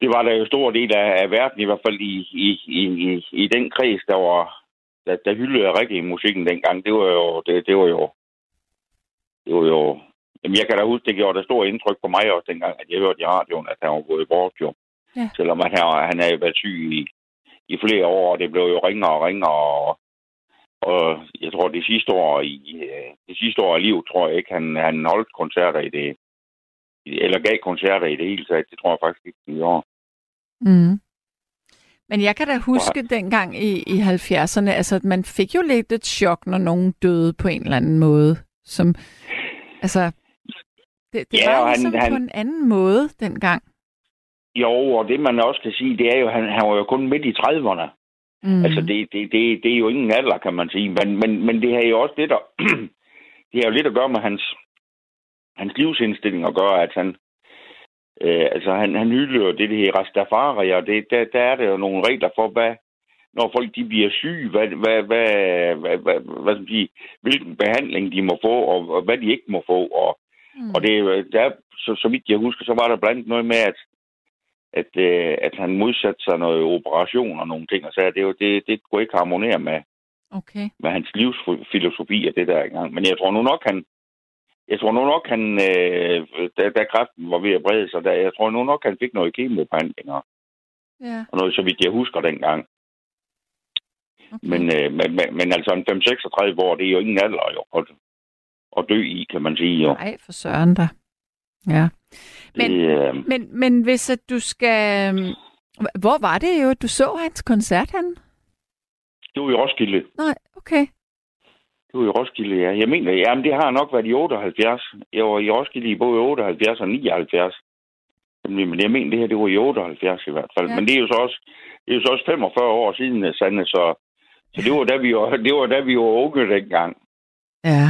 Speaker 5: Det var der jo i stor del af, af verden, i hvert fald i, i, i, i, i den kreds, der var... Der, der hyldede reggae-musikken dengang. Det var jo... Det, det var jo... Det var jo... Jamen, jeg kan da huske, det gjorde der stor indtryk på mig også dengang, at jeg hørte i radioen, at han var gået bort, jo. Ja. Selvom han, han havde været syg i, i flere år, og det blev jo ringere og ringere, og og jeg tror, det sidste år i øh, det sidste år af livet, tror jeg ikke, han, han holdt koncerter i det. Eller gav koncerter i det hele taget. Det tror jeg faktisk ikke, han gjorde.
Speaker 3: Mm. Men jeg kan da huske ja. dengang i, i 70'erne, altså at man fik jo lidt et chok, når nogen døde på en eller anden måde. Som, altså, det, det ja, var ligesom han, han, på en anden måde dengang.
Speaker 5: Jo, og det man også kan sige, det er jo, han, han var jo kun midt i 30'erne. Mm.
Speaker 3: Mhm.
Speaker 5: Altså, det, det, det, det er jo ingen alder, kan man sige. Men, men, men det har jo også lidt at, det har jo lidt at gøre med hans, hans livsindstilling at gøre, at han, øh, altså, han, han hylder det, det her Rastafari, og det, der, der er der jo nogle regler for, hvad, når folk de bliver syge, hvad, hvad, hvad, hvad, hvad, hvad skal sige, hvilken behandling de må få, og, og hvad de ikke må få. Og, mm. og det, der, så, så vidt jeg husker, så var der blandt andet noget med, at at, øh, at han modsatte sig noget operation og nogle ting, og sagde, at det, jo, det, det kunne ikke harmonere med,
Speaker 3: okay.
Speaker 5: med hans livsfilosofi og det der engang. Men jeg tror nu nok, han, jeg tror nu nok, han, øh, da, da kræften var ved at brede sig, der, jeg tror nu nok, han fik noget kemobehandlinger.
Speaker 3: Ja.
Speaker 5: Og noget, så vidt jeg husker dengang. Okay. Men, øh, men, men, men altså, 5-36 år, det er jo ingen alder jo, at, at dø i, kan man sige. Jo.
Speaker 3: Nej, for søren da. Ja. Men, det, øh... men, men hvis at du skal... Hvor var det jo, at du så hans koncert, han?
Speaker 5: Det var i Roskilde.
Speaker 3: Nej, okay.
Speaker 5: Det var i Roskilde, ja. Jeg mener, jamen det har nok været i 78. Jeg var i Roskilde i både 78 og 79. Men jeg mener, det her, det var i 78 i hvert fald. Ja. Men det er, jo så også, det er jo så også 45 år siden, Sande, så, så det, var, da vi var, det var da vi var unge dengang.
Speaker 3: Ja.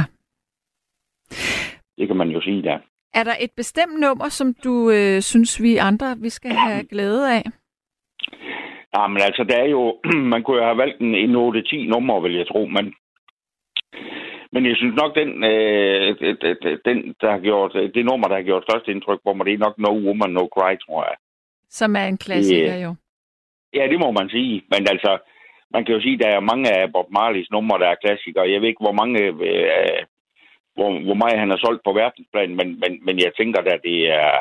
Speaker 5: Det kan man jo sige, der.
Speaker 3: Er der et bestemt nummer, som du øh, synes, vi andre vi skal have glæde af?
Speaker 5: Ja, men altså, der er jo... man kunne jo have valgt en, en 8-10 nummer, vil jeg tro, men... Men jeg synes nok, den, øh, den, der har gjort, øh, det nummer, der har gjort størst indtryk på mig, det er nok No Woman, No Cry, tror jeg.
Speaker 3: Som er en klassiker yeah. jo.
Speaker 5: Ja, det må man sige. Men altså, man kan jo sige, at der er mange af Bob Marleys numre, der er klassikere. Jeg ved ikke, hvor mange... Øh, hvor, hvor meget han har solgt på verdensplan, men, men, men jeg tænker da, det er...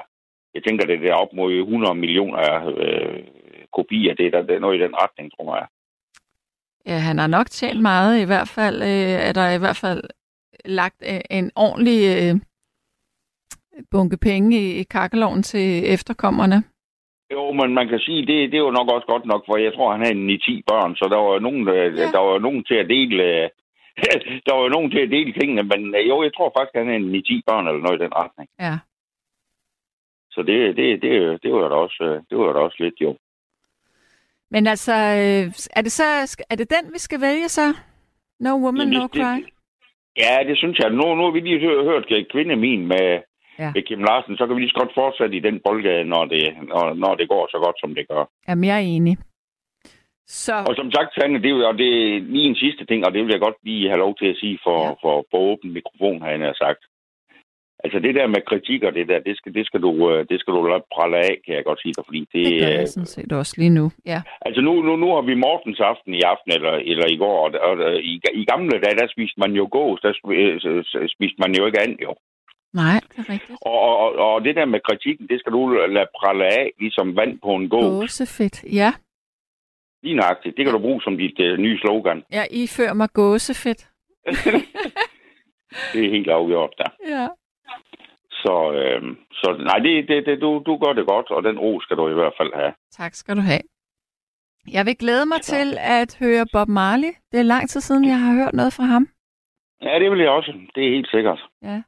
Speaker 5: Jeg tænker, det er op mod 100 millioner øh, kopier. Det er, der, det er noget i den retning, tror jeg.
Speaker 3: Ja, han har nok tjent meget. I hvert fald øh, er der i hvert fald lagt øh, en ordentlig øh, bunke penge i, i kakkeloven til efterkommerne.
Speaker 5: Jo, men man kan sige, det, det var nok også godt nok, for jeg tror, han havde 9-10 børn, så der var nogen, øh, ja. der var nogen til at dele... Øh, der var nogen til at dele tingene, men øh, jo, jeg tror faktisk, han havde 9-10 børn eller noget i den retning.
Speaker 3: Ja.
Speaker 5: Så det, det, det, det var da også, øh, det var da også lidt, jo.
Speaker 3: Men altså, er det, så, er det den, vi skal vælge så? No Woman, det, No Cry?
Speaker 5: Det, ja, det synes jeg. Nu, nu har vi lige hørt øh, kvinde min med, ja. med Kim Larsen, så kan vi lige så godt fortsætte i den boldgade, når det, når, når det går så godt, som det gør.
Speaker 3: Jamen, jeg er enig.
Speaker 5: Så... Og som sagt, Sanne, det er, jo, og det er lige en sidste ting, og det vil jeg godt lige have lov til at sige for, ja. for, for åben mikrofon, har jeg sagt. Altså det der med kritik og det der, det skal, det skal, du, øh, det skal du prale af, kan jeg godt sige dig, fordi det... øh,
Speaker 3: Det gør jeg sådan set også lige nu, ja.
Speaker 5: Altså nu, nu, nu har vi Mortens aften i aften, eller, eller i går, og, og, og i, i gamle dage, der spiste man jo gås, der øh, spiste man jo ikke andet, jo.
Speaker 3: Nej, det er rigtigt.
Speaker 5: Og, og, og det der med kritikken, det skal du lade prale af, ligesom vand på en gås.
Speaker 3: Mm. Gåsefedt, ja.
Speaker 5: Lige nøjagtigt, det kan du bruge som dit uh, nye slogan.
Speaker 3: Ja, I fører mig gåsefedt.
Speaker 5: det er helt afgjort, der.
Speaker 3: Ja.
Speaker 5: Så, øh, så nej, det, det, det, du, du gør det godt, og den ro skal du i hvert fald have.
Speaker 3: Tak skal du have. Jeg vil glæde mig så. til at høre Bob Marley. Det er lang tid siden, jeg har hørt noget fra ham.
Speaker 5: Ja, det vil jeg også. Det er helt sikkert.
Speaker 3: Ja.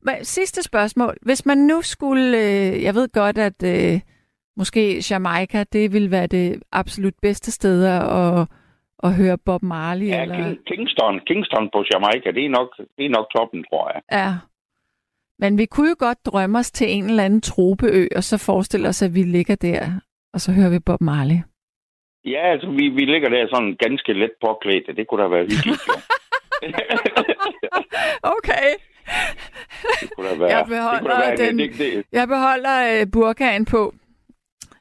Speaker 3: Men sidste spørgsmål. Hvis man nu skulle... Øh, jeg ved godt, at øh, måske Jamaica, det ville være det absolut bedste sted at, at høre Bob Marley.
Speaker 5: Ja,
Speaker 3: eller... King,
Speaker 5: Kingston, Kingston på Jamaica, det er, nok, det er nok toppen, tror jeg.
Speaker 3: Ja, men vi kunne jo godt drømme os til en eller anden tropeø, og så forestille os, at vi ligger der, og så hører vi Bob Marley.
Speaker 5: Ja, altså, vi, vi ligger der sådan ganske let påklædt, det kunne da være hyggeligt.
Speaker 3: okay.
Speaker 5: Det kunne da være. Jeg
Speaker 3: beholder, det være den, det, det. Jeg beholder øh, burkaen på.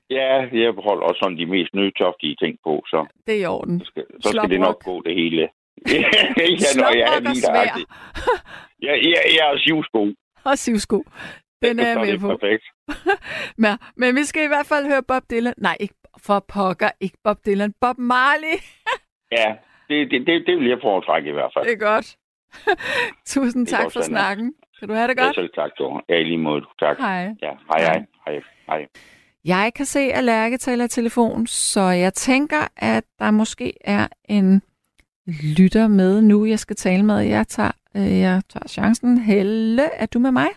Speaker 5: Ja, jeg beholder også sådan de mest nytoftige ting på, så...
Speaker 3: Det er i orden.
Speaker 5: Så skal, så Slop skal det nok op. gå, det hele. ja, når jeg er lige der. Ja, ja, ja, og sivsko.
Speaker 3: Og sivsko. Den er jeg med på.
Speaker 5: Perfekt.
Speaker 3: men, men vi skal i hvert fald høre Bob Dylan. Nej, ikke for pokker, ikke Bob Dylan. Bob Marley.
Speaker 5: ja, det, det, det, det vil jeg foretrække i hvert fald.
Speaker 3: Det er godt. Tusind det er tak godt, for Anna. snakken. Kan du have det godt? Ja,
Speaker 5: selv tak, du. Ja, lige måde. Tak.
Speaker 3: Hej.
Speaker 5: Ja, hej, hej. Hej, hej.
Speaker 3: Jeg kan se, at Lærke taler telefon, så jeg tænker, at der måske er en lytter med nu, jeg skal tale med. Jeg tager, øh, jeg tager chancen. Helle, er du med mig?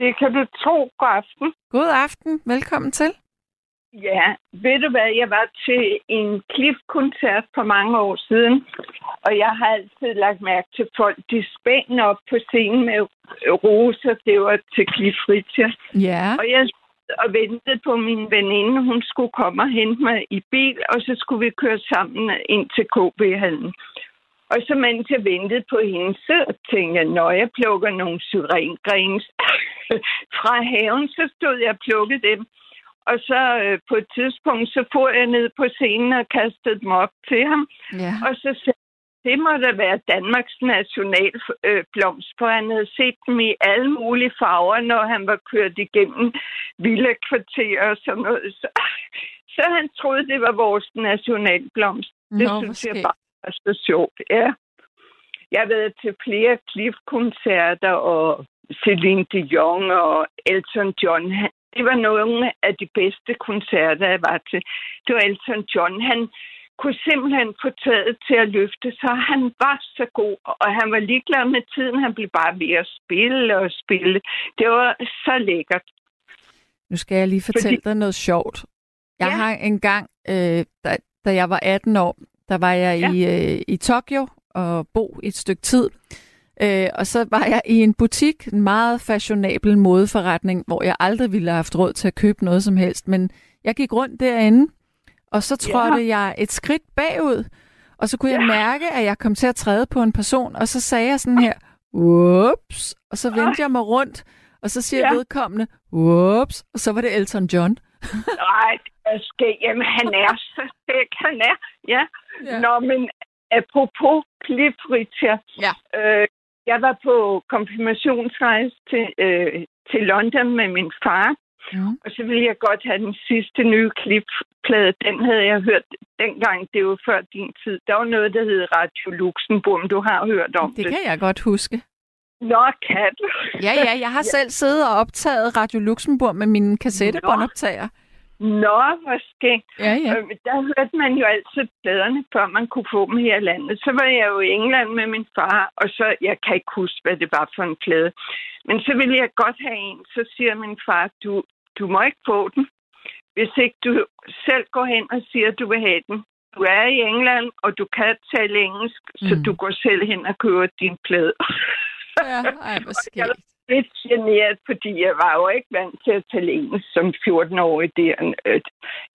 Speaker 1: Det kan du tro. God aften.
Speaker 3: God aften. Velkommen til.
Speaker 1: Ja, ved du hvad? Jeg var til en klifkoncert for mange år siden, og jeg har altid lagt mærke til folk, de spænder op på scenen med roser. Det var til Cliff Richard.
Speaker 3: Ja.
Speaker 1: Og jeg og ventede på min veninde. Hun skulle komme og hente mig i bil, og så skulle vi køre sammen ind til KB-hallen. Og så mens jeg ventede på hende, så tænkte jeg, når jeg plukker nogle syrengrens fra haven, så stod jeg og plukkede dem. Og så øh, på et tidspunkt, så får jeg ned på scenen og kastede dem op til ham.
Speaker 3: Ja.
Speaker 1: Og så sagde det må da være Danmarks nationalblomst, øh, for han havde set dem i alle mulige farver, når han var kørt igennem vilde kvarterer og sådan noget. Så, så han troede, det var vores nationalblomst.
Speaker 3: Nå,
Speaker 1: det synes jeg bare var så sjovt. Ja. Jeg har været til flere klifkoncerter og Celine Dion og Elton John. Det var nogle af de bedste koncerter, jeg var til. Det var Elton John. Han, kunne simpelthen få taget til at løfte sig. Han var så god, og han var ligeglad med tiden. Han blev bare ved at spille og spille. Det var så lækkert.
Speaker 3: Nu skal jeg lige fortælle Fordi... dig noget sjovt. Jeg ja. har engang, øh, da, da jeg var 18 år, der var jeg ja. i, øh, i Tokyo og bo et stykke tid. Øh, og så var jeg i en butik, en meget fashionabel modeforretning, hvor jeg aldrig ville have haft råd til at købe noget som helst. Men jeg gik rundt derinde, og så trådte ja. jeg et skridt bagud, og så kunne ja. jeg mærke, at jeg kom til at træde på en person, og så sagde jeg sådan her, ups, og så vendte jeg mig rundt, og så siger ja. vedkommende, ups, og så var det Elton John.
Speaker 1: Nej, det skal, jamen han er så skæg, han er, ja. ja. Nå, men apropos klifritjer, ja. øh, jeg var på konfirmationsrejse til, øh, til London med min far, ja. og så ville jeg godt have den sidste nye klipplade. Den havde jeg hørt dengang, det var før din tid. Der var noget, der hed Radio Luxembourg, du har hørt om det.
Speaker 3: Det kan jeg godt huske.
Speaker 1: Nå, kan du?
Speaker 3: ja, ja, jeg har selv siddet og optaget Radio Luxembourg med min kassettebåndoptager.
Speaker 1: Nå, hvor skægt.
Speaker 3: Ja, ja.
Speaker 1: Øh, der hørte man jo altid pladerne, før man kunne få dem her i landet. Så var jeg jo i England med min far, og så, jeg kan ikke huske, hvad det var for en plade. Men så ville jeg godt have en, så siger min far, du, du må ikke få den, hvis ikke du selv går hen og siger, at du vil have den. Du er i England, og du kan tale engelsk, mm. så du går selv hen og køber din plade.
Speaker 3: ja, ej, hvor skægt
Speaker 1: lidt generet, fordi jeg var jo ikke vant til at tale engelsk som 14-årig. Der. Øh,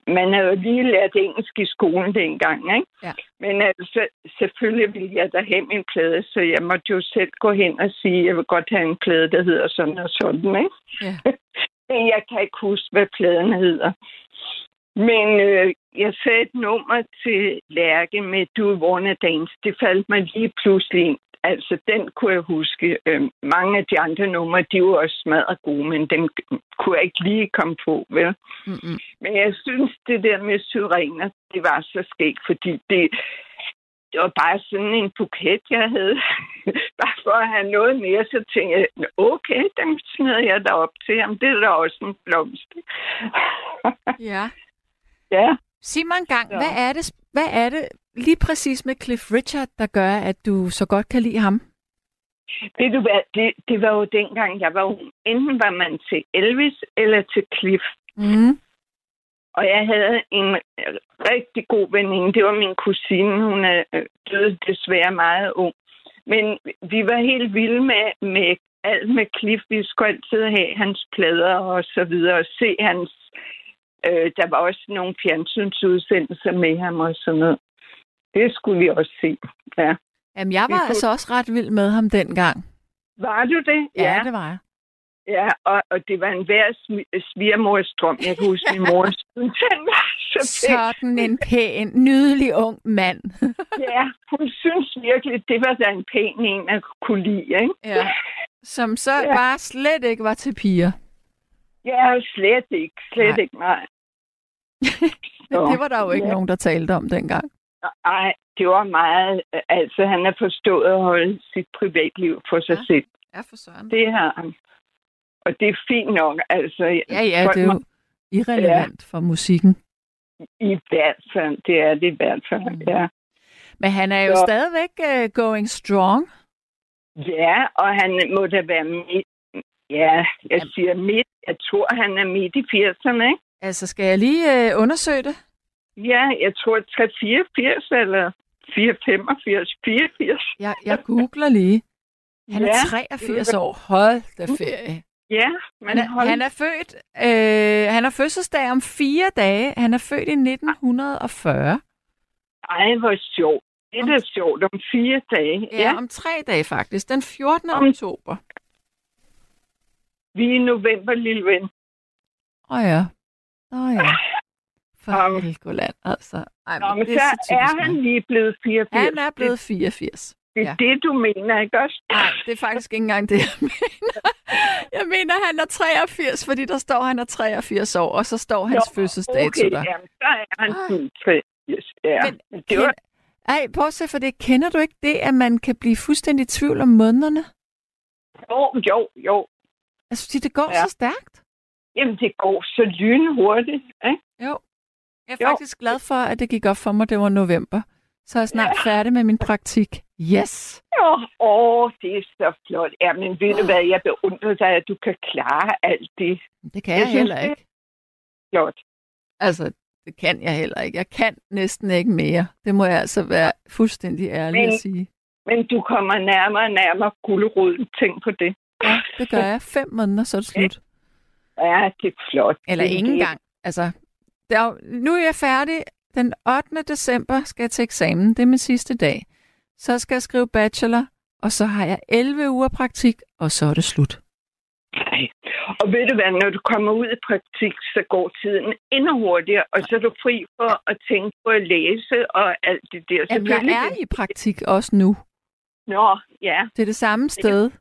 Speaker 1: Man havde jo lige lært engelsk i skolen dengang, ikke? Ja. Men altså, selvfølgelig ville jeg da have min plade, så jeg måtte jo selv gå hen og sige, at jeg vil godt have en plade, der hedder sådan og sådan, ikke? Ja. Men jeg kan ikke huske, hvad pladen hedder. Men øh, jeg sagde et nummer til Lærke med Du Wanna Dance. Det faldt mig lige pludselig ind. Altså, den kunne jeg huske. Øh, mange af de andre numre, de var også smadret gode, men dem kunne jeg ikke lige komme på, vel? Mm-hmm. Men jeg synes, det der med syrener, det var så skægt, fordi det, det var bare sådan en buket, jeg havde. bare for at have noget mere, så tænkte jeg, okay, dem smider jeg da op til. Jamen, det er da også en blomst.
Speaker 3: ja.
Speaker 1: Ja.
Speaker 3: Sig mig en gang, så. hvad er det, hvad er det, lige præcis med Cliff Richard, der gør, at du så godt kan lide ham?
Speaker 1: Ved du hvad, det, det var jo dengang, jeg var ung. Enten var man til Elvis eller til Cliff.
Speaker 3: Mm.
Speaker 1: Og jeg havde en øh, rigtig god veninde. Det var min kusine. Hun er død desværre meget ung. Men vi var helt vilde med, med alt med Cliff. Vi skulle altid have hans plader og så videre. Og se hans... Øh, der var også nogle fjernsynsudsendelser med ham og sådan noget. Det skulle vi også se, ja.
Speaker 3: Jamen, jeg var vi altså kunne... også ret vild med ham dengang.
Speaker 1: Var du det?
Speaker 3: Ja, ja det var jeg.
Speaker 1: Ja, og, og det var en værd svigermors drøm. Jeg kan huske, min mor synes, han var så
Speaker 3: pæn. Sådan en pæn, nydelig ung mand.
Speaker 1: ja, hun synes virkelig, det var da en pæn en at kunne lide, ikke?
Speaker 3: Ja, som så ja. bare slet ikke var til piger.
Speaker 1: Ja, slet ikke. Slet nej. ikke, nej.
Speaker 3: så, det var der jo ikke ja. nogen, der talte om dengang.
Speaker 1: Nej, det var meget... Altså, han har forstået at holde sit privatliv for sig
Speaker 3: ja.
Speaker 1: selv.
Speaker 3: Ja, for søren.
Speaker 1: Det har han. Og det er fint nok, altså...
Speaker 3: Ja, ja, det er jo irrelevant ja. for musikken.
Speaker 1: I hvert fald, det er det i hvert fald, mm. ja.
Speaker 3: Men han er jo Så. stadigvæk uh, going strong.
Speaker 1: Ja, og han må da være midt... Ja, jeg Jamen. siger midt. Jeg tror, han er midt i 80'erne, ikke?
Speaker 3: Altså, skal jeg lige uh, undersøge det?
Speaker 1: Ja, jeg tror 384 eller 485, 84.
Speaker 3: Jeg, jeg googler lige. Han ja, er 83 år. Hold da ferie.
Speaker 1: Ja,
Speaker 3: men han er, hold... han er født. Øh, han har fødselsdag om fire dage. Han er født i 1940.
Speaker 1: Ej, hvor sjovt. Det er da sjovt om fire dage.
Speaker 3: Ja, ja, om tre dage faktisk. Den 14. Om... oktober.
Speaker 1: Vi er i november, lille ven.
Speaker 3: Åh oh ja. Åh oh ja. For um, Helgoland, altså. Ej,
Speaker 1: men, men det er, så, så er han lige blevet 84.
Speaker 3: Han er blevet 84.
Speaker 1: Det er ja. det, du mener, ikke også?
Speaker 3: Nej, det er faktisk ikke engang det, jeg mener. Jeg mener, han er 83, fordi der står, han er 83 år, og så står hans Nå, fødselsdato
Speaker 1: okay,
Speaker 3: der.
Speaker 1: Jamen, så er han 83. Ja. Men, det
Speaker 3: var... Ej, prøv at se, for det kender du ikke det, at man kan blive fuldstændig i tvivl om månederne?
Speaker 1: Jo, jo, jo.
Speaker 3: Altså, fordi det går ja. så stærkt.
Speaker 1: Jamen, det går så lynhurtigt, ikke?
Speaker 3: Jo. Jeg er jo. faktisk glad for, at det gik op for mig, det var november. Så er jeg snart ja. færdig med min praktik. Yes!
Speaker 1: Åh, oh, det er så flot. Ja, men ved du hvad, jeg beundrer dig, at du kan klare alt det.
Speaker 3: Det kan jeg, jeg heller ikke.
Speaker 1: flot.
Speaker 3: Altså, det kan jeg heller ikke. Jeg kan næsten ikke mere. Det må jeg altså være fuldstændig ærlig
Speaker 1: Men-
Speaker 3: at sige.
Speaker 1: Men du kommer nærmere og nærmere guleroden. Tænk på det.
Speaker 3: Ja, det gør jeg. Fem måneder, så er det slut.
Speaker 1: Ja, det er flot.
Speaker 3: Eller
Speaker 1: Det er
Speaker 3: ingen
Speaker 1: det.
Speaker 3: gang. Altså, der, er jo- nu er jeg færdig. Den 8. december skal jeg til eksamen. Det er min sidste dag. Så skal jeg skrive bachelor, og så har jeg 11 uger praktik, og så er det slut.
Speaker 1: Nej. Og ved du hvad, når du kommer ud i praktik, så går tiden endnu hurtigere, og så er du fri for at tænke på at læse og alt det der.
Speaker 3: Jamen, jeg
Speaker 1: Selvfølgelig
Speaker 3: er i praktik også nu.
Speaker 1: Nå, ja,
Speaker 3: Det er det samme sted,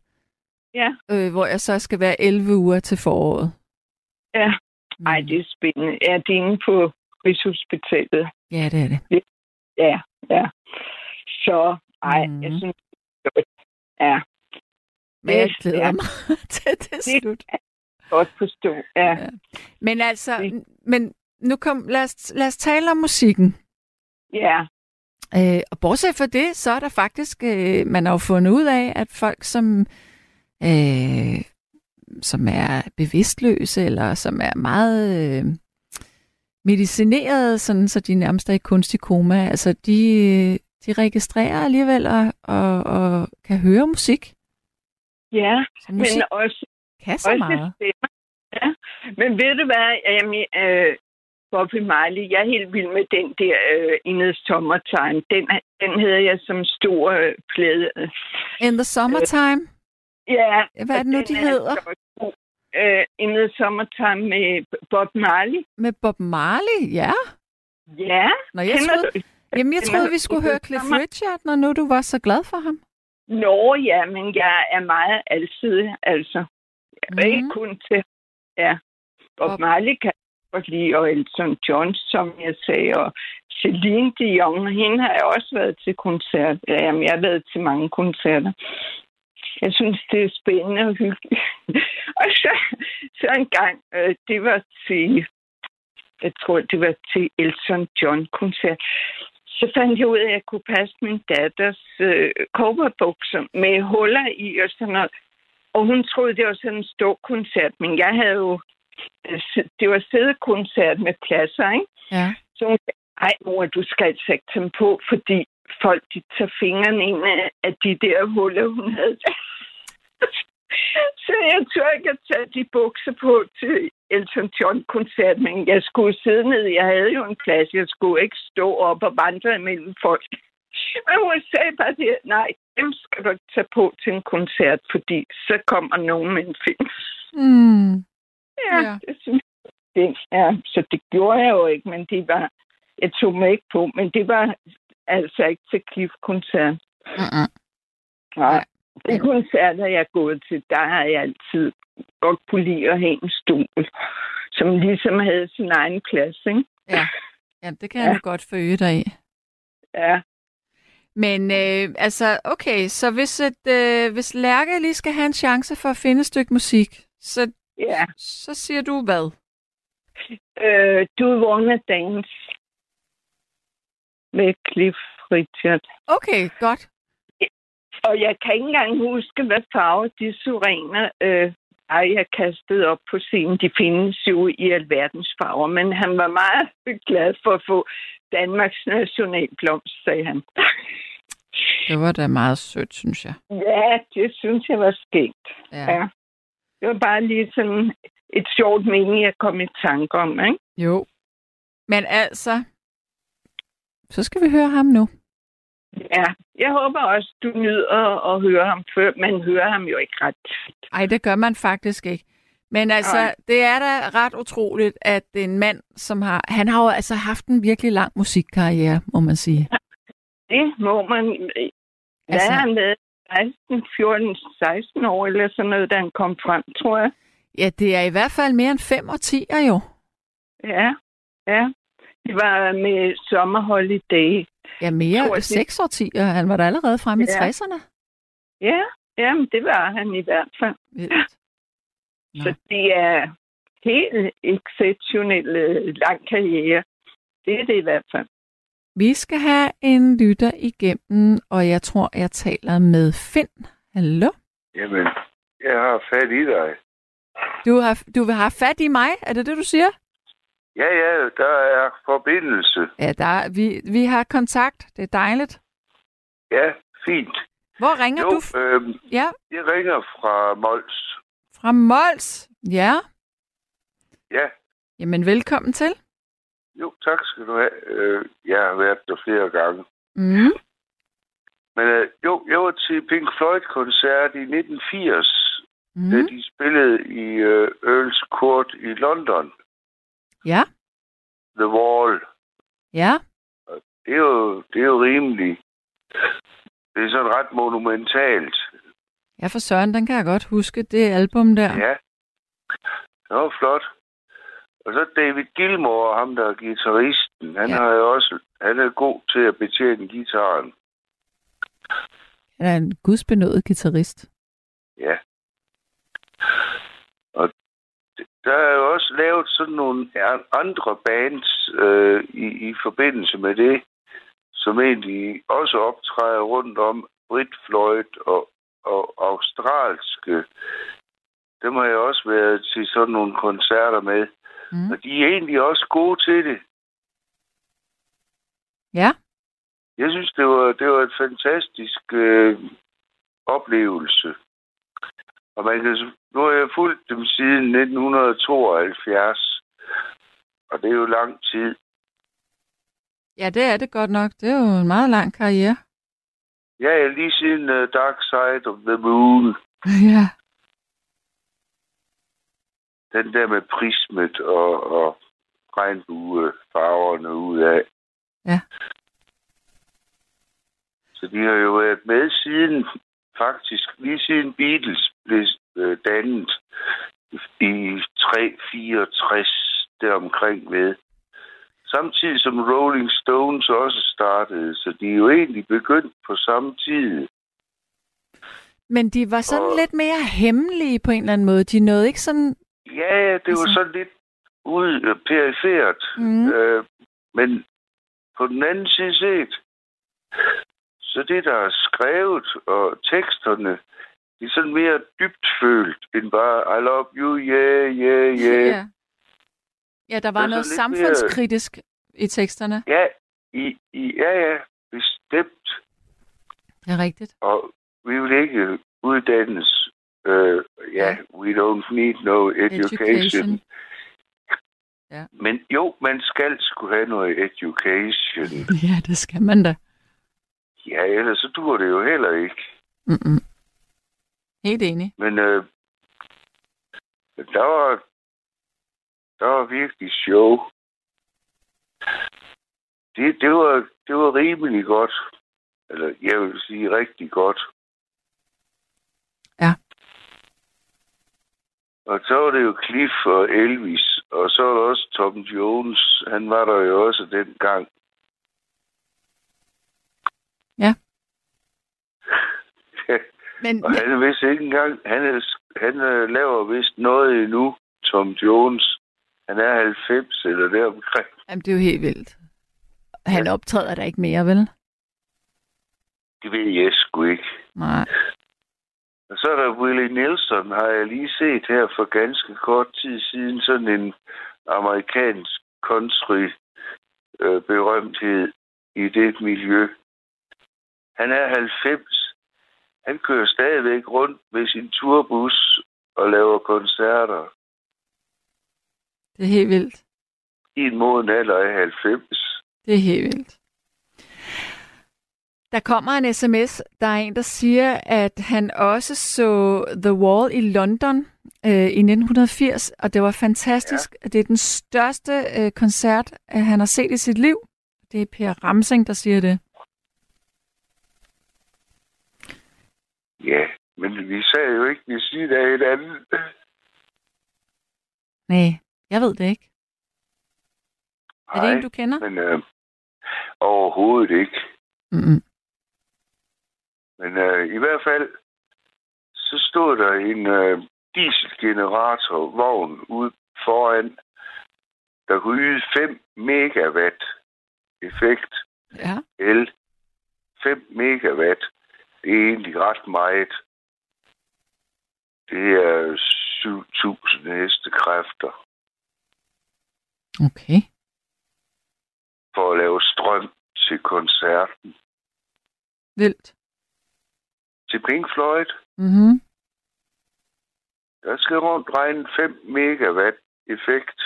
Speaker 1: ja.
Speaker 3: øh, hvor jeg så skal være 11 uger til foråret.
Speaker 1: Ja.
Speaker 3: Mm.
Speaker 1: Ej, det er spændende. Er det inde på Rigshospitalet?
Speaker 3: Ja, det er det.
Speaker 1: Ja, ja. Så, ej,
Speaker 3: Mhm.
Speaker 1: mm. jeg synes, det er flot. ja,
Speaker 3: Men jeg
Speaker 1: Det-
Speaker 3: glæder
Speaker 1: ja.
Speaker 3: mig til det
Speaker 1: Det-
Speaker 3: slut.
Speaker 1: godt forstå. Ja.
Speaker 3: Men altså,
Speaker 1: Det-
Speaker 3: men nu kom, lad os, lad os tale om musikken.
Speaker 1: ja.
Speaker 3: Øh, og bortset fra det, så er der faktisk, øh, man har jo fundet ud af, at folk, som, øh, som er bevidstløse, eller som er meget øh, medicineret, sådan, så de nærmest er i kunstig koma, altså de, øh, de registrerer alligevel og, og, og kan høre musik.
Speaker 1: ja.
Speaker 3: Så musik
Speaker 1: men
Speaker 3: men,
Speaker 1: også
Speaker 3: kan så
Speaker 1: også
Speaker 3: meget.
Speaker 1: stemmer. Ja. Men ved du hvad, Jamen, øh, Bobby Marley, jeg er helt vild med den der øh, Ines Summertime. Den, den havde jeg som stor øh, plade.
Speaker 3: In the summertime,
Speaker 1: Ja,
Speaker 3: hvad er det nu, de hedder?
Speaker 1: Øh, Ines Summertime med Bob Marley.
Speaker 3: Med Bob Marley, ja.
Speaker 1: Ja,
Speaker 3: Nå, jeg
Speaker 1: kender
Speaker 3: troede,
Speaker 1: du?
Speaker 3: jamen, jeg
Speaker 1: kender
Speaker 3: troede,
Speaker 1: du
Speaker 3: vi skulle
Speaker 1: In the
Speaker 3: høre Cliff
Speaker 1: Summer?
Speaker 3: Richard, når nu du var så glad for ham.
Speaker 1: Nå ja, men jeg er meget alsidig, altså. Mm. Ikke
Speaker 3: Mhm.
Speaker 1: kun til, ja. Bob
Speaker 3: Og-
Speaker 1: Marley kan jeg godt lide, og Elton John, som jeg sagde, og Celine Dion, hende har jeg også været til koncert. Ja, Jamen, jeg har været til mange koncerter. Jeg synes, det er spændende og hyggeligt. og så, så en gang, øh, det var til, jeg tror, det var til Elton John-koncert. Så fandt jeg ud af, at jeg kunne passe min datters øh, kobberbukser med huller i og sådan noget. Og hun troede, det var sådan en stor koncert, men jeg havde jo... øh, s- Det var sædekoncert med pladser, ikke?
Speaker 3: Ja.
Speaker 1: Så hun sagde, ej mor, du skal altså ikke tage dem på, fordi folk de tager fingrene ind af- af de der huller, hun havde. så jeg tør ikke at tage de bukser på til Elton John-koncert, men jeg skulle sidde ned. Jeg havde jo en plads. Jeg skulle ikke stå op og vandre imellem folk. Men hun sagde bare det, nej, dem skal du ikke tage på til en koncert, fordi så kommer nogen med en film.
Speaker 3: Mm.
Speaker 1: Ja,
Speaker 3: Ja.
Speaker 1: ja. det synes jeg. Det, ja, så det gjorde jeg jo ikke, men det var... Jeg tog mig ikke på, men det var altså ikke til Cliff-koncert.
Speaker 3: Mm-mm. Nej.
Speaker 1: Nej. De koncerter, jeg er gået til, der har jeg altid godt kunne lide at have en stol, som ligesom havde sin egen plads, ikke?
Speaker 3: Jamen, det kan jeg ja. godt følge dig i.
Speaker 1: Ja.
Speaker 3: Men øh, altså, okay, så hvis, et, øh, hvis Lærke lige skal have en chance for at finde et stykke musik, så,
Speaker 1: ja.
Speaker 3: så siger du hvad?
Speaker 1: Øh, du vågner dans med Cliff Richard.
Speaker 3: Okay, godt.
Speaker 1: Og jeg kan ikke engang huske, hvad farve de syrener, øh, ej, jeg kastede op på scenen. De findes jo i alverdens farver, men han var meget glad for at få Danmarks nationalblomst, sagde han.
Speaker 3: Det var da meget sødt, synes jeg.
Speaker 1: ja, det synes jeg var skægt.
Speaker 3: Ja.
Speaker 1: Ja. Det var bare lige sådan et sjovt mening, jeg kom i tanke om, ikke?
Speaker 3: Jo. Men altså, så skal vi høre ham nu.
Speaker 1: Ja, jeg håber også, du nyder at høre ham før. Man hører ham jo ikke ret tit.
Speaker 3: Ej, det gør man faktisk ikke. Men altså,
Speaker 1: Nej.
Speaker 3: det er da ret utroligt, at en mand, som har... Han har jo altså haft en virkelig lang musikkarriere, må man sige.
Speaker 1: Det må man... øh, Hvad
Speaker 3: Altså-
Speaker 1: altså... er han med? 16, 14, 16 år eller sådan noget, da han kom frem, tror jeg.
Speaker 3: Ja, det er i hvert fald mere end fem årtier jo.
Speaker 1: Ja, ja. Det var med sommerholiday.
Speaker 3: Ja, mere
Speaker 1: Tror
Speaker 3: end
Speaker 1: jeg, det-
Speaker 3: seks årtier. Han var da allerede fremme i
Speaker 1: Ja.
Speaker 3: 60'erne.
Speaker 1: Ja, jamen, det var han i hvert fald.
Speaker 3: Vildt. Nå.
Speaker 1: Så det er helt exceptionel øh, lang karriere. Det er det i hvert fald.
Speaker 3: Vi skal have en lytter igennem, og jeg tror, jeg taler med Finn. Hallo?
Speaker 5: Jamen, jeg har fat i dig.
Speaker 3: Du har, du vil have fat i mig, er det det, du siger?
Speaker 6: Ja, ja, der er forbindelse.
Speaker 3: Ja, der er, vi, vi har kontakt. Det er dejligt.
Speaker 6: Ja, fint.
Speaker 3: Hvor ringer
Speaker 6: jo,
Speaker 3: du f-
Speaker 6: øh,
Speaker 3: ja,
Speaker 6: jeg ringer fra Mols.
Speaker 3: fra Mols? Ja.
Speaker 6: Ja,
Speaker 3: Jamen, velkommen til.
Speaker 6: jo, tak skal du have. Øh, jeg har været der flere gange.
Speaker 3: Mm.
Speaker 6: Men øh, jo, jeg var til Pink Floyd-koncert i 1980, mm. da
Speaker 3: Mm.
Speaker 6: de spillede i øh, Earls Court i London.
Speaker 3: Ja,
Speaker 6: The Wall.
Speaker 3: ja.
Speaker 6: Det er jo, det er jo rimeligt. Det er sådan ret monumentalt.
Speaker 3: Ja, for Søren, den kan jeg godt huske. Det album der.
Speaker 6: Ja. Det var flot. Og så David Gilmore, ham der er guitaristen, han
Speaker 3: Ja.
Speaker 6: ja. har jo også, han er god til at betjene gitaren.
Speaker 3: Han er en gudsbenået guitarist.
Speaker 6: Ja. Og der er jo også lavet sådan nogle an- andre bands øh, i, i forbindelse med det, som egentlig også optræder rundt om Brit Floyd og, og australske. Dem har jeg også været til sådan nogle koncerter med.
Speaker 3: Mm.
Speaker 6: Mm. Og de er egentlig også gode til det.
Speaker 3: Ja,
Speaker 6: Jeg synes, det var, det var et fantastisk øh, oplevelse. Og man kan, s- nu har jeg fulgt dem siden 1972, og det er jo lang tid.
Speaker 3: ja det er det godt nok. Det er jo en meget lang karriere.
Speaker 6: Ja, ja, lige siden uh, Dark Side of the Moon,
Speaker 3: ja.
Speaker 6: den der med prismet og, og regnbuefarverne ud af.
Speaker 3: Ja.
Speaker 6: Så de har jo været med siden, faktisk lige siden Beatles blev øh, dannet i 364 deromkring ved. Samtidig som Rolling Stones også startede, så de er jo egentlig begyndt på samme tid.
Speaker 3: Men de var sådan
Speaker 6: Og-
Speaker 3: lidt mere hemmelige på en eller anden måde. De nåede ikke sådan...
Speaker 6: Ja, det var
Speaker 3: Altså-
Speaker 6: sådan lidt ud øh, perifert.
Speaker 3: Mm.
Speaker 6: Øh, men på den anden side set, så det, der er skrevet, og teksterne, de er sådan mere dybt følt, end bare, I love you, yeah, yeah, yeah.
Speaker 3: Ja, ja der var
Speaker 6: Altså
Speaker 3: noget
Speaker 6: lidt mere-
Speaker 3: samfundskritisk i teksterne.
Speaker 6: Ja, i, i, ja, ja, bestemt.
Speaker 3: Det er rigtigt.
Speaker 6: Og vi vil ikke uddannes. Øh, ja, we don't need no education. education. Men jo, man skal skulle have noget education.
Speaker 3: Ja, det skal man da.
Speaker 6: Ja, ellers så dur det jo heller ikke.
Speaker 3: Mm-mm. Helt enig.
Speaker 6: Men øh, der var der var virkelig show. Det, det, var, det var rimelig godt. Eller jeg vil sige rigtig godt.
Speaker 3: Ja.
Speaker 6: Og så var det jo Cliff og Elvis. Og så var der også Tom Jones. Han var der jo også dengang.
Speaker 3: Ja. Men,
Speaker 6: Og han er vist ikke engang... Han, er, han øh, laver vist noget endnu, Tom Jones. Han er 90 eller deromkring.
Speaker 3: Jamen, det er jo helt vildt. Han optræder der ikke mere, vel?
Speaker 6: Det ved jeg sgu ikke.
Speaker 3: Nej.
Speaker 6: Og så er der Willie Nelson, har jeg lige set her for ganske kort tid siden. Sådan en amerikansk country øh, berømthed i det miljø. Han er 90. Han kører stadigvæk rundt med sin turbus og laver koncerter
Speaker 3: Det er helt vildt.
Speaker 6: i en moden alder af 90.
Speaker 3: Det er helt vildt. Der kommer en sms, der er en, der siger, at han også så The Wall i London øh, i 1980, og det var fantastisk. Ja. Det er den største øh, koncert, øh, han har set i sit liv. Det er Per Ramsing, der siger det.
Speaker 6: Ja, men vi sad jo ikke ved siden af hinanden.
Speaker 3: Nej, jeg ved det ikke. Er det
Speaker 6: Nej,
Speaker 3: en, du kender?
Speaker 6: men øh, overhovedet ikke.
Speaker 3: Mm-mm.
Speaker 6: Men øh, i hvert fald, så stod der en øh, dieselgeneratorvogn ude foran, der kunne yde 5 megawatt effekt.
Speaker 3: Ja.
Speaker 6: El. 5 megawatt. Det er egentlig ret meget. Det er 7.000 hestekræfter.
Speaker 3: Okay.
Speaker 6: for at lave strøm til koncerten.
Speaker 3: Vildt.
Speaker 6: Til Pink Floyd,
Speaker 3: Mm-hmm.
Speaker 6: der skal rundt regne 5 megawatt effekt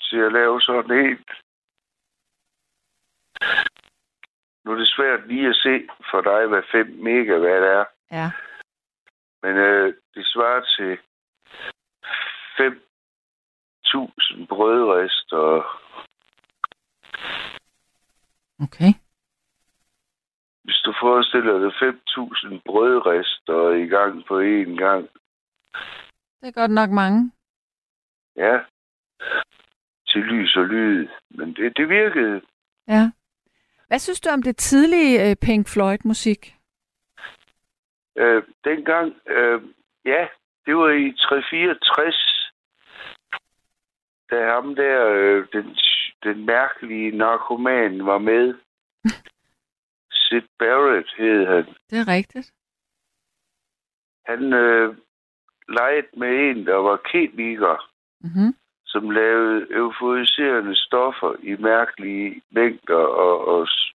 Speaker 6: til at lave sådan en. Nu er det svært lige at se for dig, hvad 5 megawatt er.
Speaker 3: Ja.
Speaker 6: Men øh, det svarer til 5.000 brødrester.
Speaker 3: Okay.
Speaker 6: Hvis du forestiller dig 5.000 brødrester i gang på én gang,
Speaker 3: Det er godt nok mange.
Speaker 6: ja, til lys og lyd. Men det, det virkede.
Speaker 3: Ja. Hvad synes du om det tidlige øh, Pink Floyd-musik?
Speaker 6: Øh, dengang, øh, ja, det var i 364, da ham der, øh, den, den mærkelige narkoman, var med. Sid Barrett hed han.
Speaker 3: Det er rigtigt.
Speaker 6: Han øh, legede med en, der var kemiker,
Speaker 3: Mm-hmm.
Speaker 6: som lavede euforiserende stoffer i mærkelige mængder og, og s-